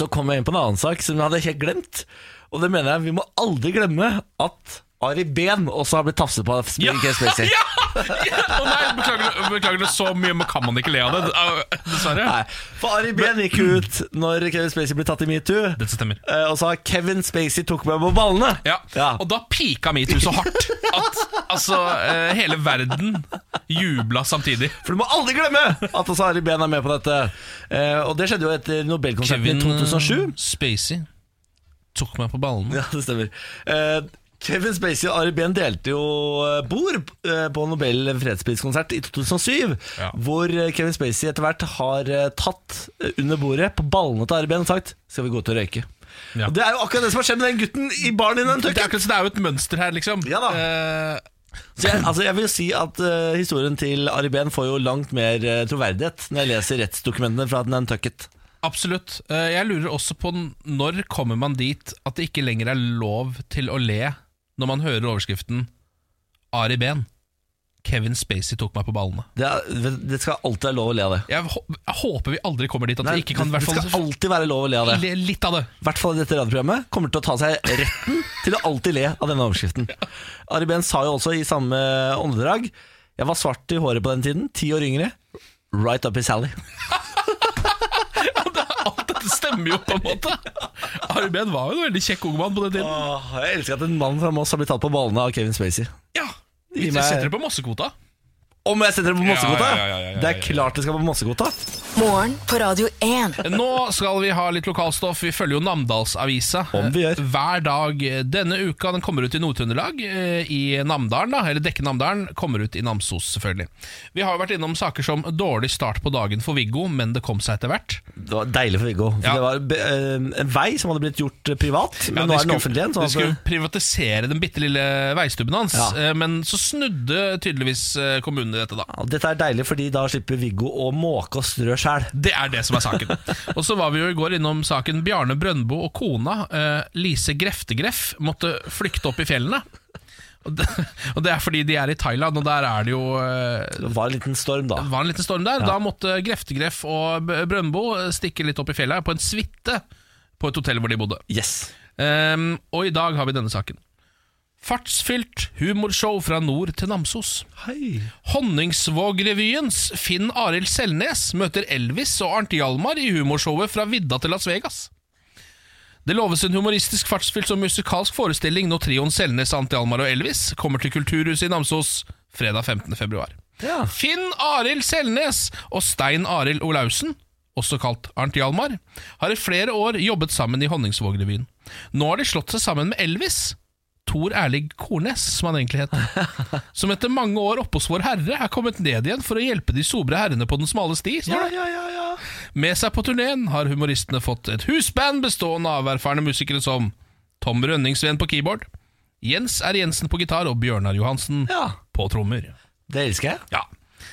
så kom jeg inn på en annen sak som jeg hadde helt glemt. Og det mener jeg vi må aldri glemme at Ari Behn også har blitt tafset på av Ja. Kevin Spacey. Ja! Ja! Å nei, beklager, beklager det så mye, men kan man ikke le av det? Au, Dessverre. Nei, for Ari Behn gikk jo ut når Kevin Spacey ble tatt i metoo. Det stemmer. eh, Og sa 'Kevin Spacey tok meg på ballene'. Ja. Og da pika metoo så hardt at altså, eh, hele verden jubla samtidig. For du må aldri glemme at også Ari Behn er med på dette. Eh, Og det skjedde jo etter Nobelkonserten eh, i 2007. Spacey tok meg på ballene. Ja, det stemmer. Eh, Kevin Spacey og Ari Behn delte jo eh, bord eh, på Nobel fredspriskonsert i 2007, Ja. hvor eh, Kevin Spacey etter hvert har eh, tatt eh, under bordet på ballene til Ari Behn og sagt 'skal vi gå ut og røyke'? Ja. Og Det er jo akkurat det som har skjedd med den gutten i baren i den Det, er akkurat så det er jo et mønster her, liksom. Ja da. Eh, Så jeg, altså jeg vil si at eh, historien til Ari Behn får jo langt mer eh, troverdighet når jeg leser rettsdokumentene fra Nantucket. absolutt. Eh, jeg lurer også på n- når kommer man dit at det ikke lenger er lov til å le når man hører overskriften Ari Behn. Kevin Spacey tok meg på ballene. Det, er, det skal alltid være lov å le av det. Jeg, hå- jeg håper vi aldri kommer dit at Nei, vi ikke kan i det, hvert det skal fall alltid være lov å le av det. le litt av det. I hvert fall i dette radioprogrammet kommer til å ta seg retten til å alltid le av denne overskriften. Ari Behn sa jo også i samme åndedrag Jeg var svart i håret på den tiden, ti år yngre. Right up his alley. Alt dette stemmer jo, på en måte. Ari Behn var jo en veldig kjekk ung mann på den tiden. Åh, jeg elsker at en mann fra Moss har blitt tatt på ballene av Kevin Spacey. Ja, Gi Vi meg- setter det på massekvota. Om jeg setter det på Mossekvota? Ja, ja, ja, ja, ja, ja. Det er klart det skal på Mossekvota. Morgen på Radio 1. Nå skal vi ha litt lokalstoff. Vi følger jo Namdalsavisa Om vi gjør. eh, hver dag denne uka. Den kommer ut i Nord-Trøndelag, eh, i Namdalen, da, eller Dekke Namdalen. Kommer ut i Namsos, selvfølgelig. Vi har jo vært innom saker som dårlig start på dagen for Viggo, men det kom seg etter hvert. Det var deilig for Viggo. For Ja. Det var be- eh, en vei som hadde blitt gjort eh, privat, men Ja, nå de er den skulle- offentlig igjen. De Så skulle altså, privatisere den bitte lille veistubben hans, Ja. eh, men så snudde tydeligvis eh, kommunen i dette, da. ja, dette er deilig, fordi da slipper Viggo å måke og strø sjæl. Det er det som er saken. Og så var vi jo i går innom saken Bjarne Brøndbo og kona, eh, Lise Greftegreff, måtte flykte opp i fjellene. Og det, og det er fordi de er i Thailand, og der er det jo eh, Det var en liten storm, da. det var en liten storm der. Da måtte Greftegreff og B- Brøndbo stikke litt opp i fjellet på en suite på et hotell hvor de bodde. Yes. Ehm, og i dag har vi denne saken. Fartsfylt humorshow fra nord til Namsos. Hei. Honningsvågrevyens Finn Arild Selnes møter Elvis og Arnt Hjalmar i humorshowet Fra vidda til Las Vegas. Det loves en humoristisk fartsfylt og musikalsk forestilling når trioen Selnes, Arnt Hjalmar og Elvis kommer til Kulturhuset i Namsos fredag 15. februar. Ja. Finn Arild Selnes og Stein Arild Olaussen, også kalt Arnt Hjalmar, har i flere år jobbet sammen i Honningsvågrevyen. Nå har de slått seg sammen med Elvis, Tor Erlig Kornes, som han egentlig het, som etter mange år oppe hos Vår Herre er kommet ned igjen for å hjelpe de sobre herrene på den smale sti. står det. ja, ja, ja. Med seg på turneen har humoristene fått et husband bestående av erfarne musikere som Tom Rønningsven på keyboard, Jens R. Jensen på gitar og Bjørnar Johansen Ja. på trommer. Det elsker jeg. Ja.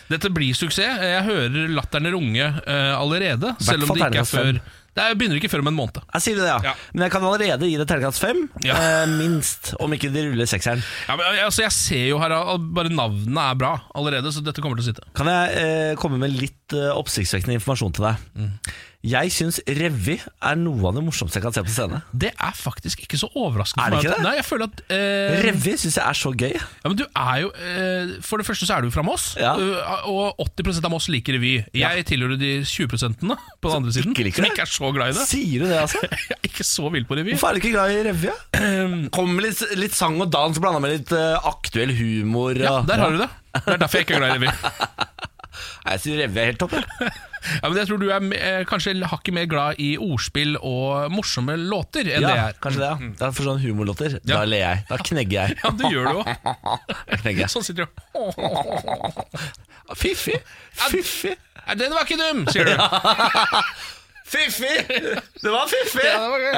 Dette blir suksess. Jeg hører latterne runge eh, allerede. Selv om fall det ikke er terningkast fem. før Det er- begynner ikke før om en måned. Jeg sier det, ja. Ja. Men jeg kan allerede gi det terningkast fem. Ja. eh, minst, om ikke de ruller sekseren. Ja, men, altså, jeg ser jo her al- Bare navnene er bra allerede, så dette kommer til å sitte. Kan jeg eh, komme med litt eh, oppsiktsvekkende informasjon til deg? Mm. Jeg syns revy er noe av det morsomste jeg kan se på scene. Det er faktisk ikke så overraskende. Er det for meg ikke at- det? Nei, jeg føler at eh, Revy syns jeg er så gøy. ja, men du er jo, eh, For det første så er du fra Moss, Ja. eh, og 80 av Moss liker revy. Jeg tilhører de 20 på den andre siden ikke liker som det? ikke er så glad i det. Sier du det, altså? Jeg er ikke så vill på revy. Hvorfor er du ikke glad i revy? ja? Kom Ehm, med litt, litt sang og dans blanda med litt eh, aktuell humor. Ja, og- der har du det. Det er derfor jeg ikke er glad i revy. Nei, Jeg syns revy er helt topp. jeg. Ja, men jeg tror du er eh, kanskje hakket mer glad i ordspill og morsomme låter enn det Ja, jeg er. kanskje det. ja Det er for sånne humorlåter. Mm. Ja. Da ler jeg. Da knegger jeg. Ja, det gjør du òg. Knegger jeg. Sånn sitter du Fiffig. Fiffig. Nei, Den var ikke dum, sier du. Fiffig! Det var fiffig! Ja, det var gøy.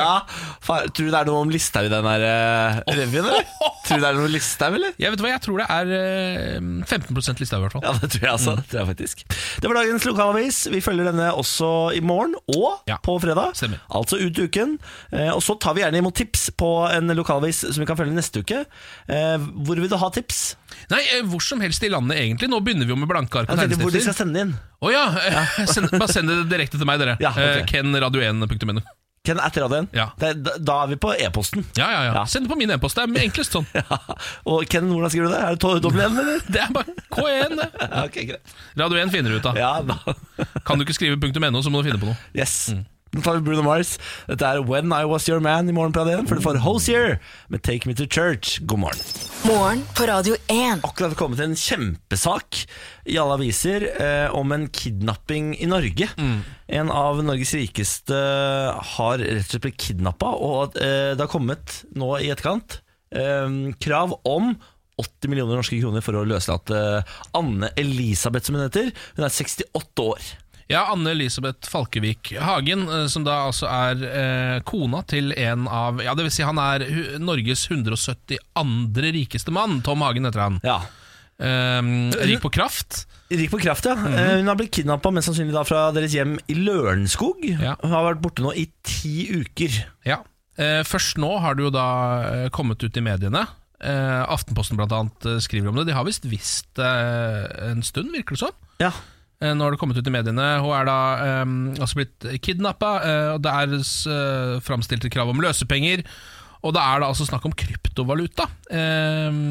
Fa- tror du det er noe om Listhaug i den her eh, revyen, eller? Tror du det er noe Listhaug, eller? Jeg vet hva, jeg tror det er eh, 15 lista i hvert fall. Ja, det tror jeg Mm. altså. Det tror jeg faktisk. Det var dagens lokalavis. Vi følger denne også i morgen og Ja. på fredag. Stemmer. Altså ut uken. Eh, Og så tar vi gjerne imot tips på en lokalavis som vi kan følge neste uke. Eh, Hvor vil du ha tips? Nei, eh, hvor som helst i landet, egentlig. Nå begynner vi jo med blanke ark Jeg og tenkte hvor de skal tegnestifter. sende inn. Å ja! eh, send, bare send det direkte til meg, dere. Ja, ok. Eh, Kenradio1.no. Ken at radioen. Ja. Det- Da da er vi på e-posten. Ja, ja, ja. Ja. Send det på min e-post. Det er enklest sånn. Ja. Og Ken, hvordan skriver du det? Er det to- dobbel N, eller? Det er bare K1, det. Ja, ok, greit. Radio 1 finner du ut av. Ja, da. Kan du ikke skrive punktum .no, så må du finne på noe. Yes. Nå tar vi Bruno Mars. Dette er When I Was Your Man i morgen på Radio 1, for du får Hosier med Take Me To Church. God morgen. Morgen på Radio 1. Akkurat kommet en kjempesak i alle aviser eh, om en kidnapping i Norge. En av Norges rikeste har rett og slett blitt kidnappa, og eh, det har kommet nå i etterkant eh, krav om 80 millioner norske kroner for å løslate eh, Anne Elisabeth, som hun heter. Hun er 68 år. Ja, Anne Elisabeth Falkevik Hagen, eh, som da altså er eh, kona til en av Ja, det vil si han er hu- Norges 172. rikeste mann. Tom Hagen heter han. Ja. Ehm, rik på kraft. Rik på kraft, ja. Eh, Hun har blitt kidnappa mest sannsynlig da fra deres hjem i Lørenskog. Ja. Hun har vært borte nå i ti uker. Ja. Eh, først nå har det jo da eh, kommet ut i mediene. Eh, Aftenposten blant annet eh, skriver om det. De har visst visst det eh, en stund, virker det som. Ja. Eh, Nå har det kommet ut i mediene. Hun er da eh, altså blitt kidnappa, eh, og det er eh, framstilt et krav om løsepenger. Og det er da altså snakk om kryptovaluta. Eh,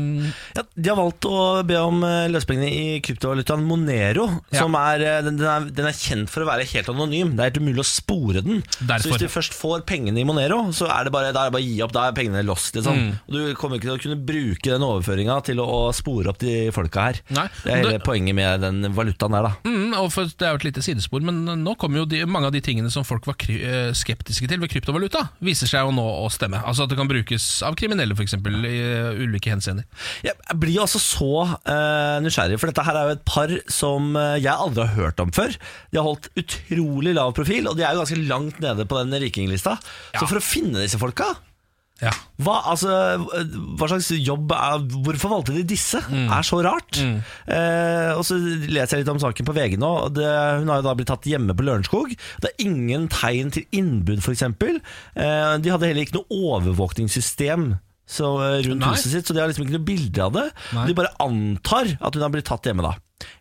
Ja, de har valgt å be om eh, løsepengene i kryptovalutaen Monero. Ja. Som er, eh, den, den er, den er kjent for å være helt anonym. Det er helt umulig å spore den. Derfor. Så hvis du først får pengene i Monero, så er det bare, da er det bare å gi opp. Da er pengene lost. Liksom. Mm. Og du kommer ikke til å kunne bruke den overføringa til å, å spore opp de folka her. Nei, det er og hele det- poenget med den valutaen der, da. mm, og for, det er jo et lite sidespor, men nå kommer jo de, mange av de tingene som folk var kry eh, skeptiske til ved kryptovaluta, viser seg jo nå å stemme. Altså at det kan brukes av kriminelle, f.eks., i eh, ulike henseender. Jeg blir jo altså så eh, nysgjerrig, for dette her er jo et par som eh, jeg aldri har hørt om før. De har holdt utrolig lav profil, og de er jo ganske langt nede på den rikinglista. Ja. Så for å finne disse folka Ja. hva, altså, eh, hva slags jobb er Hvorfor valgte de disse? Mm. er så rart. Eh, og så leser jeg litt om saken på VG nå. og Det, hun har jo da blitt tatt hjemme på Lørenskog. Det er ingen tegn til innbud, f.eks. Eh, de hadde heller ikke noe overvåkningssystem. Så eh, rundt Nei. huset sitt Så de har liksom ikke noe bilde av det. Nei. De bare antar at hun har blitt tatt hjemme da.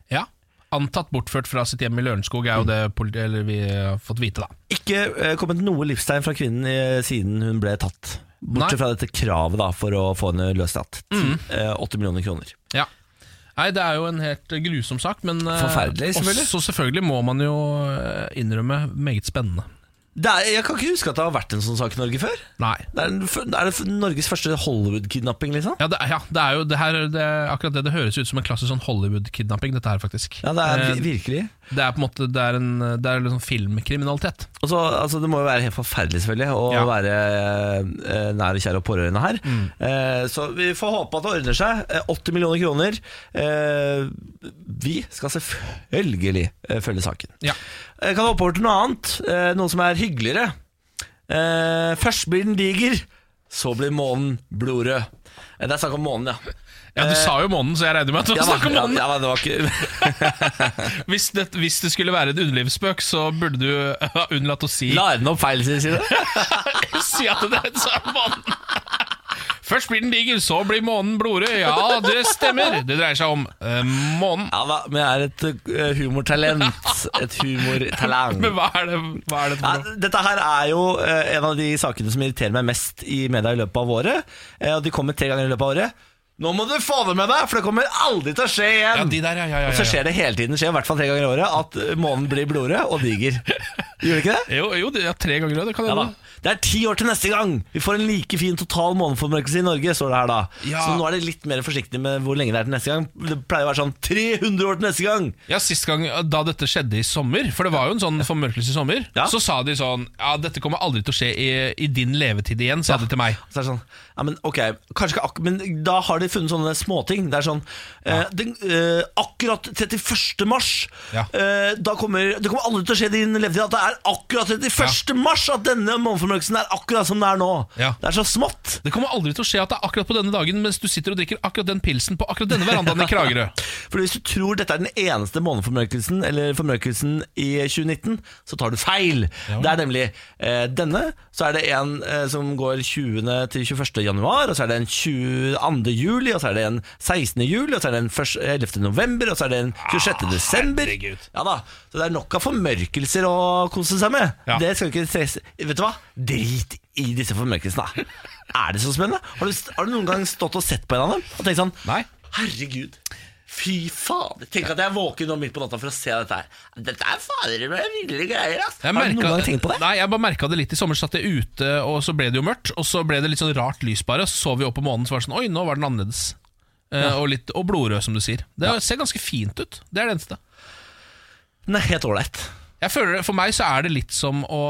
ja. Antatt bortført fra sitt hjem i Lørenskog er jo det politi eller vi har fått vite, da. Ikke eh, kommet noe livstegn fra kvinnen eh, siden hun ble tatt. Nei. Mm. Bortsett fra dette kravet da for å få henne løslatt. Eh, 80 millioner kroner. Ja. Nei, Det er jo en helt grusom sak, men eh, Forferdelig, selvfølgelig. også selvfølgelig må man jo eh, innrømme meget spennende. Det er, jeg kan ikke huske at det har vært en sånn sak i Norge før. Nei. Det er, den f- det er det f- Norges første Hollywood-kidnapping, liksom. Ja, det, er- ja, det er jo det her, det, er akkurat det det høres ut som en klassisk sånn Hollywood-kidnapping, dette her faktisk. Ja, det er Eh, vi- virkelig. det er på en måte Det er, en, det er liksom filmkriminalitet. Og så, altså, det må jo være helt forferdelig, selvfølgelig, å Ja. Mm. være eh, nær og kjære og pårørende her. Eh, så vi får håpe at det ordner seg. Eh, 80 millioner kroner. Eh, vi skal selvfølgelig eh, følge saken. Ja. Jeg kan hoppe over til noe annet, eh, noe som er hyggeligere. Eh, først blir den diger, Så blir månen blodrød. Eh, Det er snakk om månen, ja. Ja, Du sa jo månen, så jeg regner med at du Eh, Ja, da, snakker om månen. Ja, ja, da, det var ikke Hvis, det, hvis det skulle være en underlivsspøk, så burde du ha unnlatt å si La den opp feil sin side. Si at det er så er månen. Først blir den diger, så blir månen blodrød. Ja, det stemmer. Det dreier seg om eh, månen. Ja da, men jeg er et eh, humortalent. Et humortalent. Men hva er det, hva er det for noe? Ja, dette her er jo eh, en av de sakene som irriterer meg mest i media i løpet av året. Eh, og de kommer tre ganger i løpet av året. Nå må du få det med deg, for det kommer aldri til å skje igjen! Ja, de der, ja, ja, ja, Og så ja. skjer det hele tiden, skjer i hvert fall tre ganger i året, at eh, månen blir blodrød og diger. Gjør det ikke det? Jo, jo det er tre ganger rød, det kan Ja da. hende. Det er ti år til neste gang! Vi får en like fin total måneformørkelse i Norge, står det her da. Ja. Så nå er det litt mer forsiktig med hvor lenge det er til neste gang. Det pleier å være sånn 300 år til neste gang! Ja, Sist gang eh, da dette skjedde i sommer, for det var jo en sånn formørkelse i sommer, Ja. så sa de sånn Ja, dette kommer aldri til å skje i, i din levetid igjen, sa de til meg. Så er det sånn, ja, men ok, kanskje ikke akkurat, men da har de funnet sånne småting. Det er sånn, eh, den, eh, akkurat 31. mars, Ja. eh, da kommer, det kommer aldri til å skje i din levetid at det er akkurat 31. mars, at denne måneformørkelsen er akkurat som det er nå. Ja. Det er så smått. Det kommer aldri til å skje at det er akkurat på denne dagen mens du sitter og drikker akkurat den pilsen på akkurat denne verandaen i Kragerø. For hvis du tror dette er den eneste måneformørkelsen, eller formørkelsen i 2019, så tar du feil. Det er nemlig eh, denne, så er det en eh, som går 20. til 21. januar, og så er det en 22. juli, og så er det en 16. juli, og så er det en 1. 11. november, og så er det en 26. desember. Ah, herregud. Ja da, så det er nok av formørkelser å kose seg med. Ja. Det skal ikke stresse. Vet du hva? Drit i disse formørkelsene. da. Er det så spennende? Har du, har du noen gang stått og sett på en av dem og tenkt sånn Nei. Herregud. Fy fader. Tenk at jeg er våken nå midt på natta for å se dette her. Dette er fader meg ville greier, ass. Jeg har du merka- noen gang tenkt på det? Nei, jeg bare merka det litt i sommer. Satt jeg ute, og så ble det jo mørkt. Og så ble det litt sånn rart lys bare. og Så så vi opp på månen, så var det sånn Oi, nå var den annerledes. Eh, og, litt, og blodrød, som du sier. Det ser ganske fint ut. Det er det eneste. Den er helt ålreit. Jeg føler, det- for meg så er det litt som å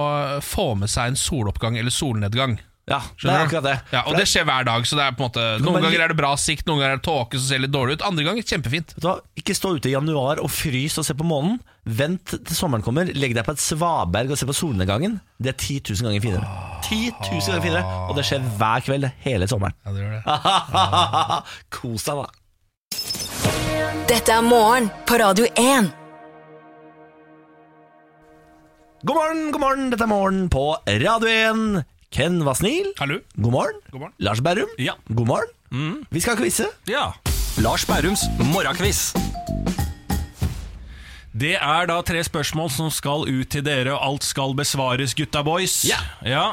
få med seg en soloppgang eller solnedgang. Ja, det Skjønner er du? akkurat det. Ja, og det skjer hver dag. Så det er på en måte kan Noen bare ganger gi- er det bra sikt, noen ganger er det tåke som ser litt dårlig ut. Andre ganger kjempefint. Vet du hva? Ikke stå ute i januar og frys og se på månen. Vent til sommeren kommer. Legg deg på et svaberg og se på solnedgangen. Det er 10 000 ganger finere. 10 000 ganger finere, og det skjer hver kveld hele sommeren. Ja, det gjør det. Kos deg, da. Dette er morgen på Radio 1. God morgen, god morgen, dette er morgen på Radio 1. Ken var snill. Hallo? God morgen. God morgen. Lars Berrum. Ja. Mm. God morgen. Vi skal quize. Ja. Lars Bærums morgenkviss. Det er da tre spørsmål som skal ut til dere, og alt skal besvares, gutta boys. Ja.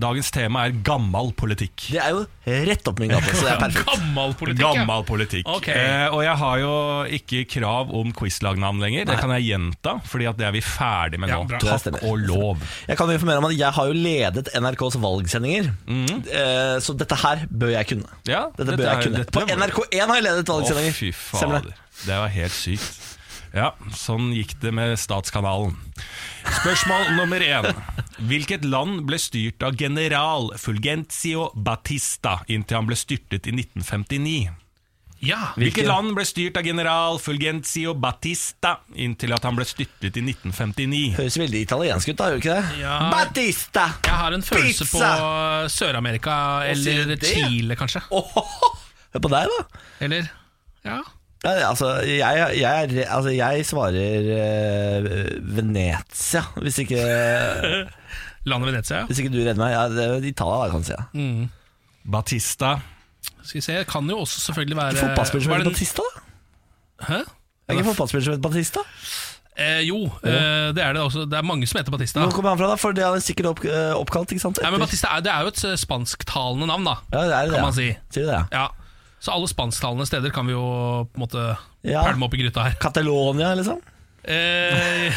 Dagens tema er gammal politikk. Det er jo rett opp min gate, så det er perfekt. Gammel politikk. ja. Gammal politikk. Ok. Eh, og jeg har jo ikke krav om quizlagnavn lenger. Det kan jeg gjenta, Fordi at det er vi ferdig med Ja, nå. bra. Det Takk stemmer. og lov. Jeg kan jo informere om at jeg har jo ledet NRKs valgsendinger, eh, så dette her bør jeg kunne. Mm. Ja, dette dette bør jeg er- kunne. dette På må du. NRK1 har jeg ledet valgsendinger. Å, fy Stemmer det? fader. Det var helt sykt. Ja, sånn gikk det med Statskanalen. Spørsmål nummer én. Hvilket land ble styrt av general Fulgencio Batista inntil han ble styrtet i 1959? Ja. Hvilket land ble styrt av general Fulgencio Batista inntil at han ble styrtet i 1959? Høres veldig italiensk ut, da, gjør det ikke det? Ja. Batista! Jeg har en følelse Pizza! på Sør-Amerika sier du eller det? Chile, kanskje. Åhåhå. Hør på deg, da. Eller Ja. Ja, altså, jeg, jeg, er- altså, jeg svarer eh, Venezia, hvis ikke, Landet Venezia. ja. hvis ikke du redder meg. Ja, det er Italia, da, kan jeg si. Ja. Batista Skal vi se, det kan jo også selvfølgelig være Fotballspiller som Var heter det- Batista, da? Hæ? Er det ikke fotballspiller som heter Batista? Eh, jo, eh, det er det også. Det er mange som heter Batista. Hvor kommer han fra, da? For det er sikkert opp, eh, oppkalt, ikke sant? Nei, men Etter- Batista er, det er jo et eh, spansktalende navn, da. ja, det er det, kan ja. man si. Sier du det, ja? Ja. Så alle spansktalende steder kan vi jo på en måte Ja. pælme opp i gryta her. Catalonia, liksom? Eh,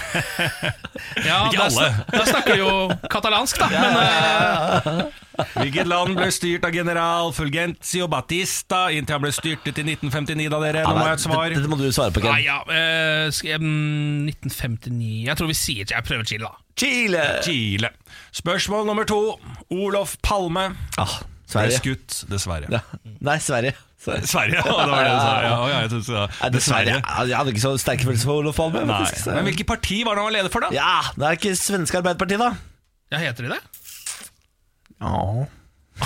ja, Ikke da, alle. sn- da snakker de jo katalansk, da. Men eh, Hvilket land ble styrt av general Fulgencio Batista inntil han ble styrtet i 1959, da, dere? Nå må jeg ha et svar. Dette, dette må du svare på, Ken. nei, ja, eh, sk- eh, mm, 1959 Jeg tror vi sier Jeg prøver Chile, da. Chile! Chile. Spørsmål nummer to. Olof Palme Ah, ble Sverige. skutt, dessverre. Ja. Nei, Sverige. Sverige. Sverige, ja, det var det du sa. Ja, ja, jeg synes, det. Nei, dessverre. Ja, Jeg hadde ikke så sterke følelser for Olof Palme. Nei. faktisk. Men hvilket parti var det han var leder for, da? Ja, det er ikke svenske Arbeiderpartiet, da. Ja, heter de det? Ja,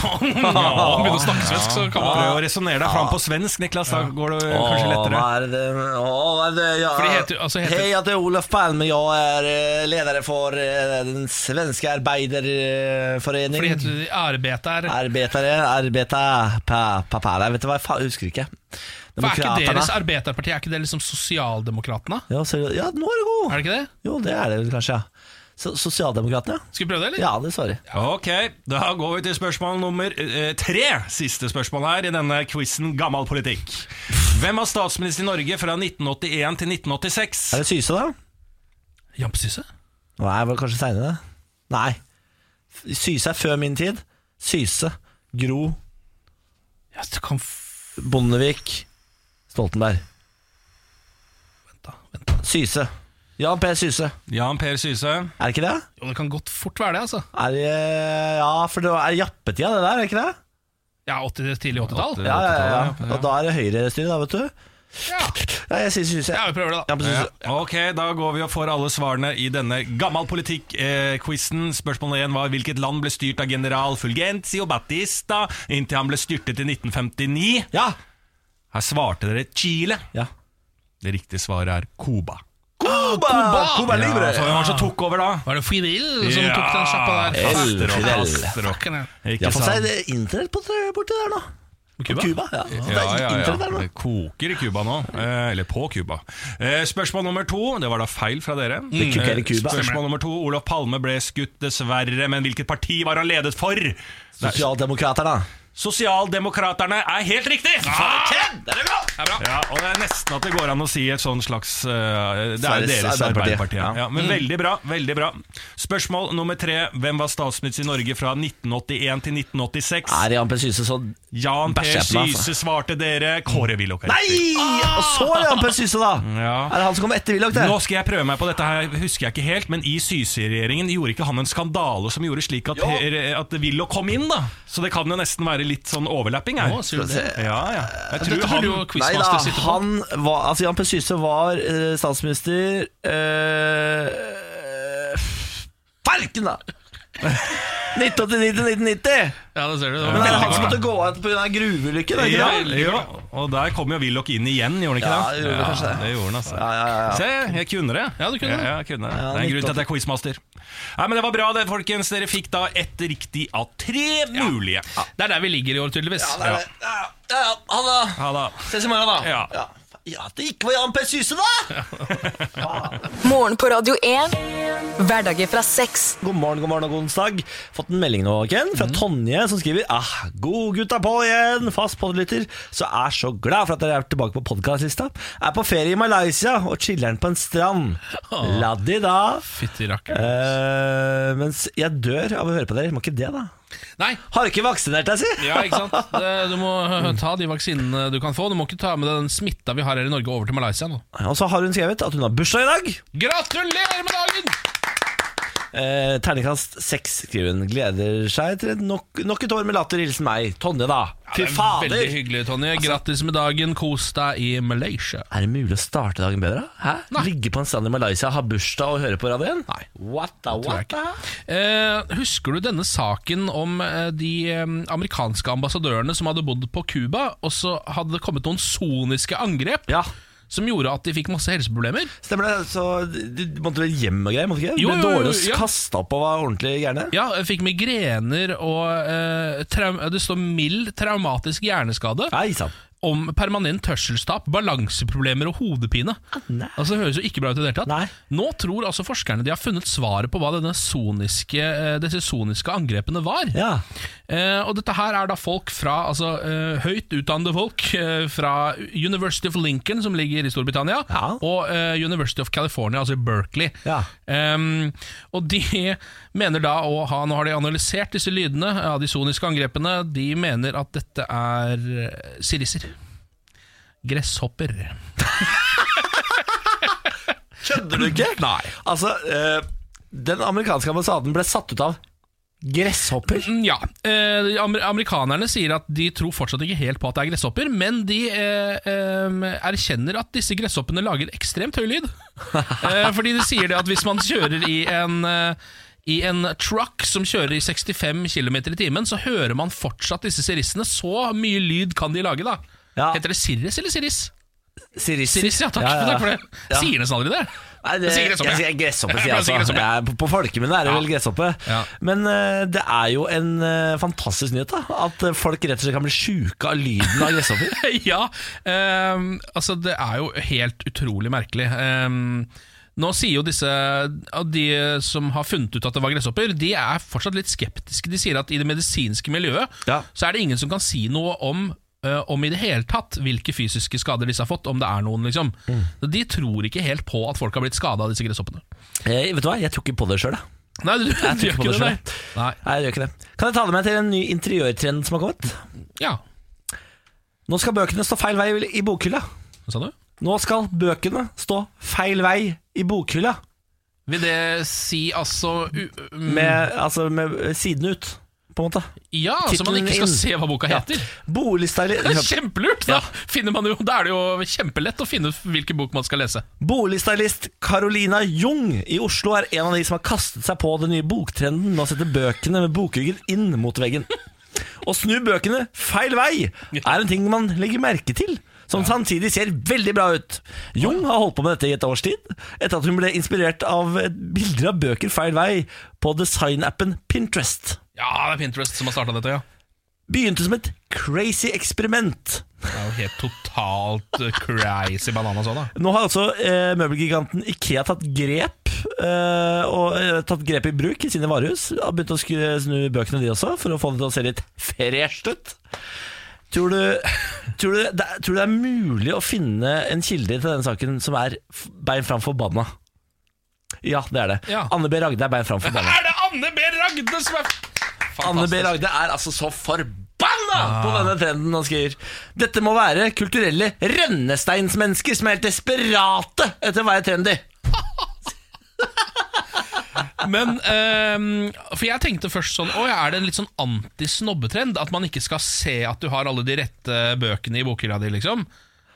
han begynner å snakke svensk, så kan man Prøv å resonnere deg fram på svensk, Niklas. Da går det kanskje lettere. Hva er det? Åh, hva er det? Ja. For det heter- altså heter- Hei, jeg heter Olof Palme. Jeg er eh, leder for eh, den svenske arbeiderforening. For det heter arbeter. Arbeitere, arbeter, pa, papara. Vet du hva, jeg fa- husker ikke. For er ikke Demokraterna. deres arbeiderparti Er ikke det liksom Sosialdemokratene? Ja, ser du- ja, nå er du god. Er det ikke det? Jo, det er det vel kanskje, ja. So Sosialdemokratene, ja. Skal vi prøve det, eller? Ja, det svarer. Ok, da går vi til spørsmål nummer eh, tre. Siste spørsmål her i denne quizen Gammal politikk. Hvem var statsminister i Norge fra 1981 til 1986? Er det Syse, da? Jampesyse? Nei, var det kanskje seinere? Nei. Syse er før min tid. Syse, Gro, Ja, det kan f... Bondevik, Stoltenberg. Da, vent da. Syse. Jan P. Syse. Jan Per Syse. Er det ikke det? Jo, det kan godt fort være det, altså. Er det Ja, for det er jappetida, det der, er det ikke det? Ja, 80, tidlig 80-tall. Åtte- Ja, ja, ja. åttitallet, ja. Og da er det høyrestyre, da, vet du. Ja. Ja, jeg sier Syse. ja, vi prøver det, da. Jan P. Ja. Syse. Ok, da går vi og får alle svarene i denne Gammal politikk-quizen. Spørsmål én var hvilket land ble styrt av general Fulgencio Batista inntil han ble styrtet i 1959. Ja! Her svarte dere Chile. ja. Det riktige svaret er Cuba. Ah, Cuba! altså, Cuba Libre! Ja, for hvem var det som tok over da? Var det Fidel som tok den sjappa der? Ja. Faen. Faster og Fidel. faster og- Fucken, ja. Ikke Ja, for seg sant? det er internett på borti der nå. På Cuba? Cuba, ja. Det Ja, er ja, ja. internett der nå. Det koker i Cuba nå. Eh, eller på Cuba. Eh, spørsmål nummer to, det var da feil fra dere. koker Mm. i Eh, Cuba. Spørsmål nummer to, Olof Palme ble skutt dessverre, men hvilket parti var han ledet for? Nei, Sosialdemokraterna. Sosialdemokraterne er helt riktig! Faen, det er bra! Det er bra. Ja, og Det er nesten at det går an å si et sånn slags eh, Det er Sveriges deres Arbeiderparti. Arbeiderparti. Ja. Ja. men Veldig bra. veldig bra Spørsmål nummer tre. Hvem var statsminister i Norge fra 1981 til 1986? Er Jan P. Syse så Jan P. Bæsj jeg på meg, altså. Syse svarte dere. Kåre Willoch. er riktig. Nei! Og så er det Jan P. Syse, da! Ja. Er det han som kommer etter Willoch, det? Nå skal jeg prøve meg på dette her, husker jeg ikke helt, men i Syse-regjeringen gjorde ikke han en skandale som gjorde slik at, Per- at Willoch kom inn, da. Så det kan jo nesten være litt sånn overlapping her. Å, sier du det? Ja, ja. Jeg tror Dette han burde jo Nei da, Quizmaster sitte på. han var Altså, Jan P. Syse var eh, statsminister eh, Farken, da! 1989 til 1990! Ja, det ser du. Det var Men det er veldig han som godt, måtte gå av pga. gruveulykken, er det ja, ikke det? ja, og der kom jo Willoch inn igjen, gjorde han ikke Ja, det? det gjorde kanskje det. det gjorde han, altså. Ja, ja, ja. Se, jeg kunne det. Ja, du kunne det. Ja, jeg kunne det. Ja, det er en grunn nytt til at jeg er quizmaster. Nei, men Det var bra, det, folkens. Dere fikk da ett riktig av tre mulige. da. Det er der vi ligger i år, tydeligvis. Ja, det er det. Ja, ja, ja. Ha det! Ha det. Ses i morgen, da. Ja. Ja. Ja, at det ikke var Jan P. Syse, da! Morgen på Radio 1. Hverdager fra seks. God morgen, god morgen og god onsdag. Fått en melding nå, Ken, Mhm. fra Tonje, som skriver Ah, god gutta på igjen, fast podlytter. Så er så glad for at dere er tilbake på podkastlista. Er på ferie i Malaysia og chiller'n på en strand. Laddi da. Fytti rakker. Eh, mens jeg dør av å høre på dere. Må ikke det, da. Nei, Har du ikke vaksinert deg, si? Ja, ikke sant? Det, du må eh, ta de vaksinene du kan få. Du må ikke ta med deg den smitta vi har her i Norge over til Malaysia nå. Og så har hun skrevet at hun har bursdag i dag. Gratulerer med dagen! Eh, terningkast seks, skriver hun. Gleder seg til nok, nok et år med latter. Hilsen meg, Tonje, da. Fy Det er fader! Altså- Veldig hyggelig, Tonje. Grattis med dagen. Kos deg i Malaysia. Er det mulig å starte dagen bedre? Hæ? Ligge på en strand i Malaysia, ha bursdag og høre på radioen? Nei. What the, what the? Eh, husker du denne saken om eh, de eh, amerikanske ambassadørene som hadde bodd på Cuba, og så hadde det kommet noen soniske angrep Ja, som gjorde at de fikk masse helseproblemer? stemmer det. Så du du måtte vel hjem og greier? måtte du ikke? Jo, Ble jo, jo, dårlig og ja. kasta opp og var ordentlig gærne? Ja, jeg fikk migrener og eh, traum Det står mild traumatisk hjerneskade. Nei sann. om permanent hørselstap, balanseproblemer og hodepine. Ah, nei. Altså, det høres jo ikke bra ut i det hele tatt. Nei. Nå tror altså forskerne de har funnet svaret på hva denne soniske, eh, disse soniske angrepene var. Ja. Eh, og dette her er da folk fra altså, eh, høyt utdannede folk eh, fra University of Lincoln, som ligger i Storbritannia, Ja. og eh, University of California, altså i Berkeley. Ja. Ehm, og de mener da å ha Nå har de analysert disse lydene av de soniske angrepene. De mener at dette er eh, sirisser. Gresshopper. Kødder du ikke? Nei. Altså, eh, den amerikanske ambassaden ble satt ut av gresshopper. Mm, Ja. eh, de amer amerikanerne sier at de tror fortsatt ikke helt på at det er gresshopper, men de eh, em, erkjenner at disse gresshoppene lager ekstremt høy lyd. Eh, fordi de sier det at hvis man kjører i en eh, I en truck som kjører i 65 km i timen, så hører man fortsatt disse sirissene. Så mye lyd kan de lage, da. Ja. Heter det Sirris eller Sirris? Sirisser. Sirris, ja. Takk, takk for det. Ja. Sier nesten aldri det. Nei, det, Jeg sier jeg gresshoppe, jeg. sier gresshoppe, Jeg sier jeg pleier å si altså. gresshoppe. Jeg er på, på folkemunne er det vel gresshoppe. Ja. Men eh, det er jo en eh, fantastisk nyhet, da. At eh, folk rett og slett kan bli sjuke av lyden av gresshopper. ja, ehm, altså det er jo helt utrolig merkelig. Ehm, nå sier jo disse av de som har funnet ut at det var gresshopper, de er fortsatt litt skeptiske. De sier at i det medisinske miljøet Ja. så er det ingen som kan si noe om eh, om i det hele tatt hvilke fysiske skader disse har fått, om det er noen, liksom. Mm. Så De tror ikke helt på at folk har blitt skada av disse gresshoppene. Eh, vet du hva, jeg tror ikke på det sjøl, jeg. Nei, du, Jeg du tror gjør ikke på det ikke det, selv. nei. nei. Nei, jeg gjør ikke det. Kan jeg ta det med til en ny interiørtrend som har kommet? Ja, Nå skal bøkene stå feil vei i bokhylla. hva sa du? Nå skal bøkene stå feil vei i bokhylla, Vil det si altså u um, med, altså med siden ut, på en måte. Ja, så Altså, man Tittelen ikke skal inn. se hva boka heter? Det er Boligstylist kjempelurt! Da, finner man jo, da er det jo kjempelett å finne ut hvilken bok man skal lese. Boligstylist Carolina Jung i Oslo er en av de som har kastet seg på den nye boktrenden med å sette bøkene med bokryggen inn mot veggen. Å snu bøkene feil vei er en ting man legger merke til, som samtidig ser veldig bra ut. Jung har holdt på med dette i et års tid, etter at hun ble inspirert av et bilder av bøker feil vei på designappen Pinterest. Ja, det er Pinterest som har starta dette, ja. Begynte som et crazy eksperiment. Det er jo helt totalt eh, crazy banana sånn, da. Nå har altså eh, møbelgiganten Ikea tatt grep eh, Og eh, tatt grep i bruk i sine varehus Har begynt å skru, snu bøkene de også For å få det til å se litt fresht ut tror du, tror, du, det, er- tror du det er mulig å finne en kilde til denne saken Som er f- bein fram forbanna? Ja, det er det Ja. Anne B. Ragde er bein fram forbanna Er det Anne B. Ragde som er Anne B. Fantastisk. Ah. Ragde er altså så forbanna på denne trenden og skriver Dette må være kulturelle rennesteinsmennesker som er helt desperate etter å være trendy. Men ehm, For jeg tenkte først sånn Å, ja, er det en litt sånn antisnobbetrend? At man ikke skal se at du har alle de rette bøkene i bokhylla di, liksom?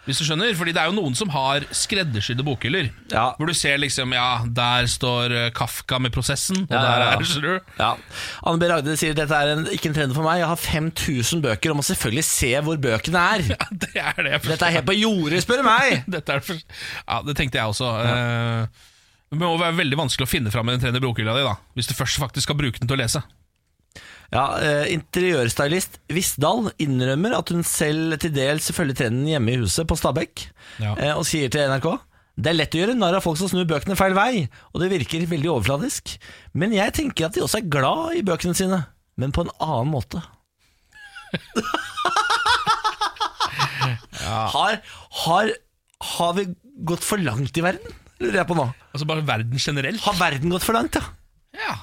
Hvis du skjønner? Fordi det er jo noen som har skreddersydde bokhyller. Ja. Hvor du ser liksom Ja, der står eh, Kafka med prosessen, og Ja, der ja, ja. er skjønner du. Ja. Anne B. Ragde sier dette er en, ikke en trend for meg. Jeg har 5000 bøker og må selvfølgelig se hvor bøkene er. Det er det jeg Dette forstår. er helt på jordet, spør du meg! Dette er det for... Ja, det tenkte jeg også. Eh, Det må være veldig vanskelig å finne fram i den tredje bokhylla di, da. Hvis du først faktisk skal bruke den til å lese. Ja, eh, Interiørstylist Visdal innrømmer at hun selv til dels følger trenden hjemme i huset på Stabekk, Ja. eh, og sier til NRK det er lett å gjøre narr av folk som snur bøkene feil vei, og det virker veldig overfladisk. Men jeg tenker at de også er glad i bøkene sine, men på en annen måte. har, har, har vi gått for langt i verden? Lurer jeg på nå. Altså bare verden generelt. Har verden gått for langt, ja? Ja.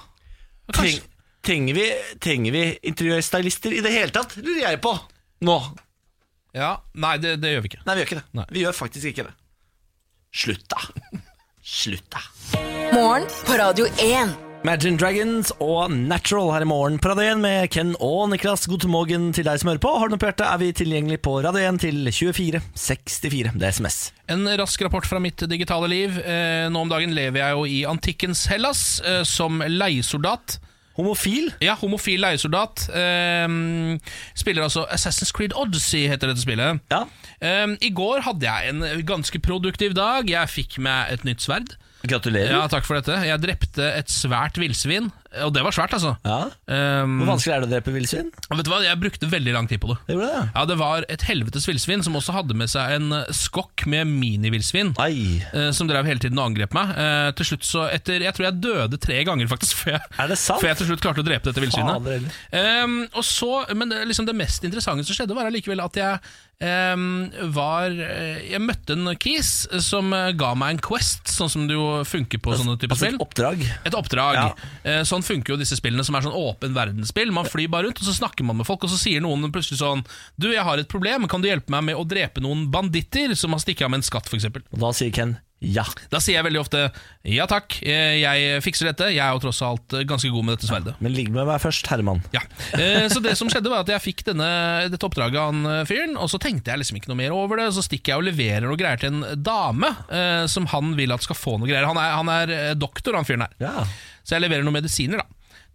Treng, Kanskje. trenger, vi, trenger vi interiørstylister i det hele tatt, lurer jeg på. Nå. Ja. Nei, det, det gjør vi ikke. Nei, vi gjør ikke det. Nei. Vi gjør faktisk ikke det. Slutt, da. Slutt, da. Morgen på Radio 1. Imagine Dragons og Natural her i morgen på Radio 1 med Ken og Niklas. God morgen til deg som hører på. Har du noe på hjertet, er vi tilgjengelig på Radio 1 til 24 64. Det er SMS. En rask rapport fra mitt digitale liv. Eh, nå om dagen lever jeg jo i antikkens Hellas eh, som leiesoldat. Homofil? Ja, homofil leiesoldat. Eh, spiller altså Assassin's Creed Odyssey, heter dette spillet. Ja. Eh, I går hadde jeg en ganske produktiv dag. Jeg fikk meg et nytt sverd. Gratulerer. Ja, takk for dette. Jeg drepte et svært villsvin, og det var svært, altså. Ja. Eh, Hvor vanskelig er det å drepe villsvin? vet du hva, jeg brukte veldig lang tid på det. Det gjorde det. Ja, Det var et helvetes villsvin som også hadde med seg en eh, skokk med minivillsvin. Nei. eh, som drev hele tiden og angrep meg. Eh, til slutt så etter, Jeg tror jeg døde tre ganger, faktisk, før jeg, Er det sant? før jeg til slutt klarte å drepe dette Fader heller. villsvinet. Ehm, og så, men det, liksom det mest interessante som skjedde, var allikevel at jeg ehm, var eh, Jeg møtte en kis som eh, ga meg en quest, sånn som det jo funker på sånne typer Altså spill. et oppdrag. Et oppdrag. Ja. Eh, Sånn funker jo disse spillene som er sånn åpen verdensspill. Man flyr bare rundt, og så snakker man med folk, og så sier noen plutselig sånn Du, jeg har et problem, kan du hjelpe meg med å drepe noen banditter som har stikket av med en skatt, f.eks.? Og da sier Ken Ja. Da sier jeg veldig ofte 'ja takk, eh, jeg fikser dette'. Jeg er jo tross alt eh, ganske god med dette sverdet. Men ligg med meg først, Herman. Ja, eh, Så det som skjedde var at jeg fikk denne, dette oppdraget av han eh, fyren, og så tenkte jeg liksom ikke noe mer over det. og Så stikker jeg og leverer noe greier til en dame eh, som han vil at skal få noe greier. Han er, han er eh, doktor, han fyren her. Ja. Så jeg leverer noen medisiner da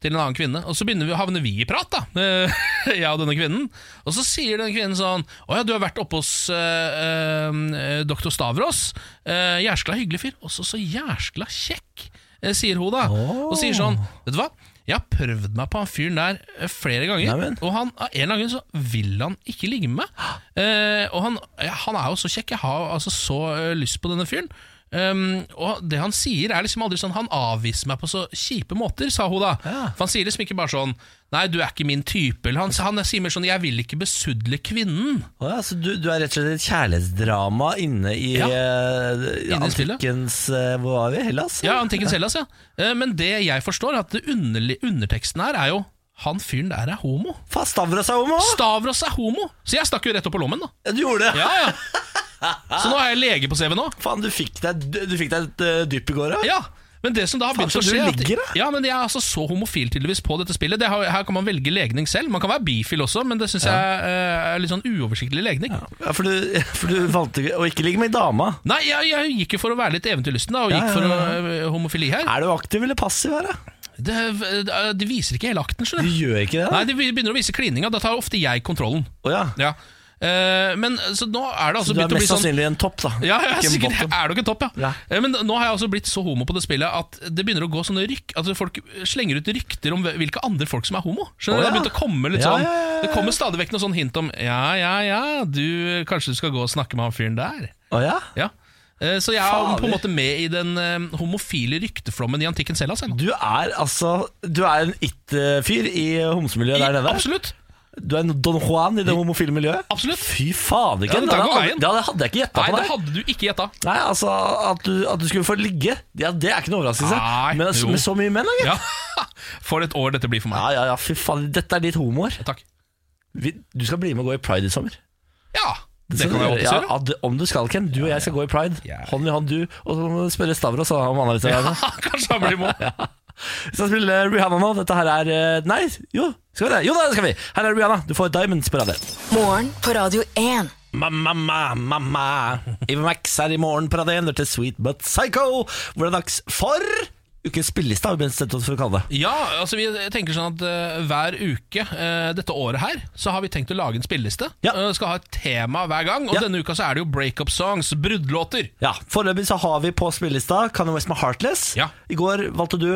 til en annen kvinne, og så begynner vi, havner vi i prat, da. eh, jeg og denne kvinnen. Og så sier denne kvinnen sånn Å ja, du har vært oppe hos eh, eh, doktor Stavros. Uh, jæskla hyggelig fyr. Og så så jæskla kjekk, eh, sier hun da. Og sier sånn Vet du hva, jeg har prøvd meg på han fyren der eh, flere ganger, Neimen. og han, av en eller annen grunn så vil han ikke ligge med meg. Eh, og han, ja, han er jo så kjekk, jeg har altså så eh, lyst på denne fyren. Um, og det han sier er liksom aldri sånn Han avviser meg på så kjipe måter, sa hun da. For han sier liksom ikke bare sånn Nei, du er ikke min type. Eller han, han sier mer sånn Jeg vil ikke besudle kvinnen. Å ja, så du, du er rett og slett et kjærlighetsdrama inne i Ja. eh, Inne i spillet. antikkens eh, Hvor var vi? Hellas? Ja, antikken Hellas, ja. Eh, men det jeg forstår, at det underli, underteksten her er jo Han fyren der er homo. Faen, Stavros er homo! Stavros er homo! Så jeg stakk jo rett opp på lommen, da. du gjorde det! Ja, ja. Så nå er jeg lege på CV nå. Faen, du fikk deg, du fikk deg et eh, dypp i går, da. Ja, men det som da har Faen, begynt å så du skje er at- ligger, da? Ja, men jeg er altså så homofil tydeligvis på dette spillet det, har- Her kan man velge legning selv Man kan være bifil også, men det synes jeg eh, er litt sånn uoversiktlig legning Ja, for, du, for du valgte å ikke ligge med dama. Nei, jeg, jeg gikk jo for å være litt eventyrlysten da Og Ja, gikk ja, for ja. eh, homofili her Er du aktiv eller passiv her, da? det, det- det viser ikke hele akten, Du skjønner du gjør ikke det? da? Nei, det begynner å vise klininga Da tar ofte jeg kontrollen Å ja. Ja Eh, men så nå er det altså Du begynt er å bli mest sånn sannsynlig en topp, da. Ja, ja ikke en sikkert bottom. er du ikke topp, ja. Ja. Eh, Men nå har jeg også blitt så homo på det spillet at det begynner å gå sånne rykk At folk slenger ut rykter om hvilke andre folk som er homo. Å, ja. Skjønner du? Det har begynt å komme litt Ja, sånn ja, ja, ja. Det kommer stadig vekk noen sånn hint om Ja, ja, ja, du kanskje du skal gå og snakke med han fyren der. Å ja? Ja Eh, Så jeg er Fader. på en måte med i den eh, homofile rykteflommen i antikken selv. Altså. Du er altså Du er en it-fyr i homsemiljøet der nede. Absolutt! Du er en Don Juan i det homofile miljøet. Absolutt. Fy fader, Ja, Ken. det det, tar hadde, jo veien. det hadde jeg ikke gjetta Nei, på det deg. hadde du ikke gjetta. Nei, altså At du, at du skulle få ligge, ja, det er ikke noe overraskelse. Nei, Men jo. med så mye menn, da, gitt. Ja. For et år dette blir for Ja, meg. ja, ja, fy faen. Dette er ditt homoår. Takk. Vi- Du skal bli med og gå i pride i sommer. Ja, det kan jeg ja, oppsummere. at, Om du skal, Ken. Du og jeg skal gå i pride. Ja. Hånd i hånd, du. Og så må du spørre Stavros og om han er ute. Ja, Ja. kanskje han blir med. Vi skal spille Rihanna nå. Dette her er eh, Nei, jo, skal vi det? Jo da, det skal vi! Her er Rihanna. Du får Diamonds på radioen. Morgen på Radio 1. Mamma, mamma, mamma. Eva Max er i morgen på radioen. Dette er Sweet But Psycho. Hvor det er dags for ukens spilleliste, har vi bestemt oss for å kalle det. Ja, altså vi tenker sånn at eh, hver uke eh, dette året her, så har vi tenkt å lage en spilleliste. Ja. Eh, skal ha et tema hver gang, og Ja. denne uka så er det jo breakup songs, bruddlåter. Ja, Foreløpig så har vi på spillelista Kanye West med Heartless. Ja. I går valgte du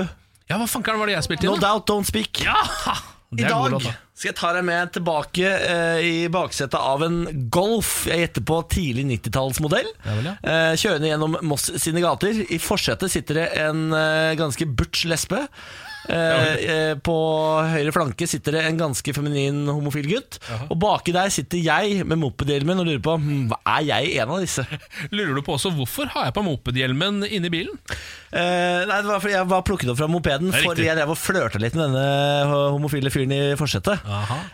Ja, hva fankeren var det jeg spilte No inn? da? Doubt Don't Speak. Ja! I Det er en god dag låt, da. skal jeg ta deg med tilbake eh, i baksetet av en Golf. Jeg gjetter på tidlig 90-tallsmodell. Ja vel, ja. eh, kjørende gjennom Moss sine gater. I forsetet sitter det en eh, ganske butch lesbe. Eh, eh, på høyre flanke sitter det en ganske feminin homofil gutt. Og baki der sitter jeg med mopedhjelmen min og lurer på hm, hva er jeg en av disse. Lurer du på også hvorfor har jeg på mopedhjelmen inni bilen? Eh, nei, det var fordi Jeg var plukket opp fra mopeden Det er fordi riktig. jeg drev og flørta litt med denne eh, homofile fyren i forsetet.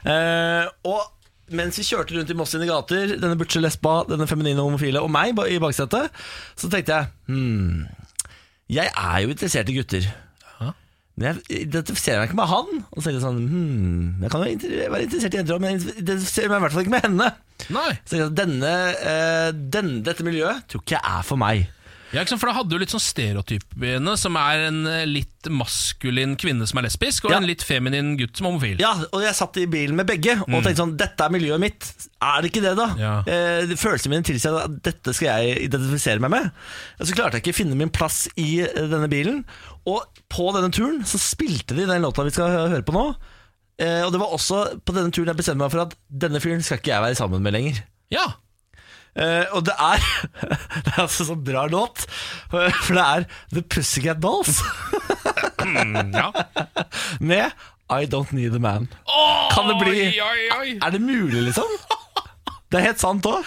Eh, og mens vi kjørte rundt i Moss sine gater, denne butche lesba, denne feminine homofile og meg ba- i baksetet, så tenkte jeg hmm, Jeg er jo interessert i gutter. Men jeg identifiserer meg ikke med han. Og så tenkte jeg sånn hmm, Jeg kan jo inter- være interessert i jenter òg, men jeg identifiserer meg i hvert fall ikke med henne. Nei. Så tenkte jeg, sånn, denne, eh, den, Dette miljøet tror ikke jeg er for meg. Ja, ikke sant, for da hadde du litt sånn stereotypene, som er en eh, litt maskulin kvinne som er lesbisk, og Ja. en litt feminin gutt som er homofil. Ja, og jeg satt i bilen med begge og tenkte sånn Dette er miljøet mitt. Er det ikke det, da? Ja. Eh, det- følelsene mine tilsier at dette skal jeg identifisere meg med. Og så klarte jeg ikke å finne min plass i eh, denne bilen. Og på denne turen så spilte de den låta vi skal hø- høre på nå. Eh, og det var også på denne turen jeg bestemte meg for at denne fyren skal ikke jeg være sammen med lenger. Ja. Eh, og det er Det er altså så bra låt, for det er The Pussycat Dolls Mm, ja. med I Don't Need a Man. kan det bli Oi, oi, oi. Er det mulig, liksom? Det er helt sant òg.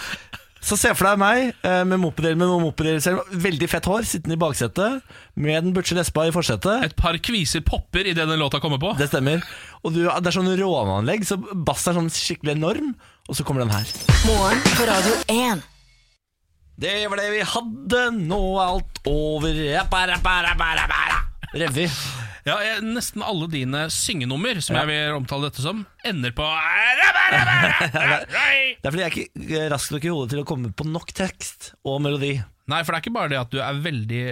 Så se for deg meg eh, med mopedhjelmen og mopedhjelmen, veldig fett hår, sittende i baksetet, med den butche lesba i forsetet. Et par kviser popper i det den låta kommer på. Det stemmer. Og du, det er sånn råneanlegg, så bassen er sånn skikkelig enorm, og så kommer den her. Morgen på Radio 1. Det var det vi hadde, nå er alt over. Rappa, rappa, rappa, rappa, rappa. Revy. Ja, jeg, Nesten alle dine syngenummer, som jeg vil omtale dette som, ender på Det er fordi jeg er ikke eh, rask nok i hodet til å komme på nok tekst og melodi. Nei, for det er ikke bare det at du er veldig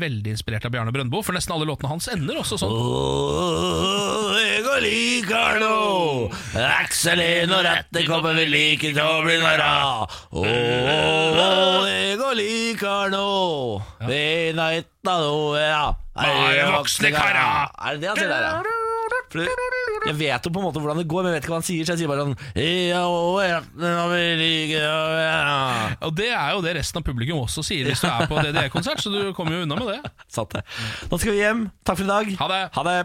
veldig inspirert av Bjarne Brøndbo, for nesten alle låtene hans ender også sånn. Åh, jeg liker nå Aksel inn og rette kommer vi like til å bli narra Åh, jeg liker nå Vi nøyta nå, ja Bare voksne kara. Er det det han sier der, ja? For du- jeg vet jo på en måte hvordan det går, men jeg vet ikke hva han sier, så jeg sier bare sånn «Ja, åh, jeg kommer vi like til å bli narra». Og det er jo det resten av publikum også sier hvis du er på DDE-konsert, så du kommer jo unna med det. Satt det Nå skal vi hjem, takk for i dag Ha det. Ha det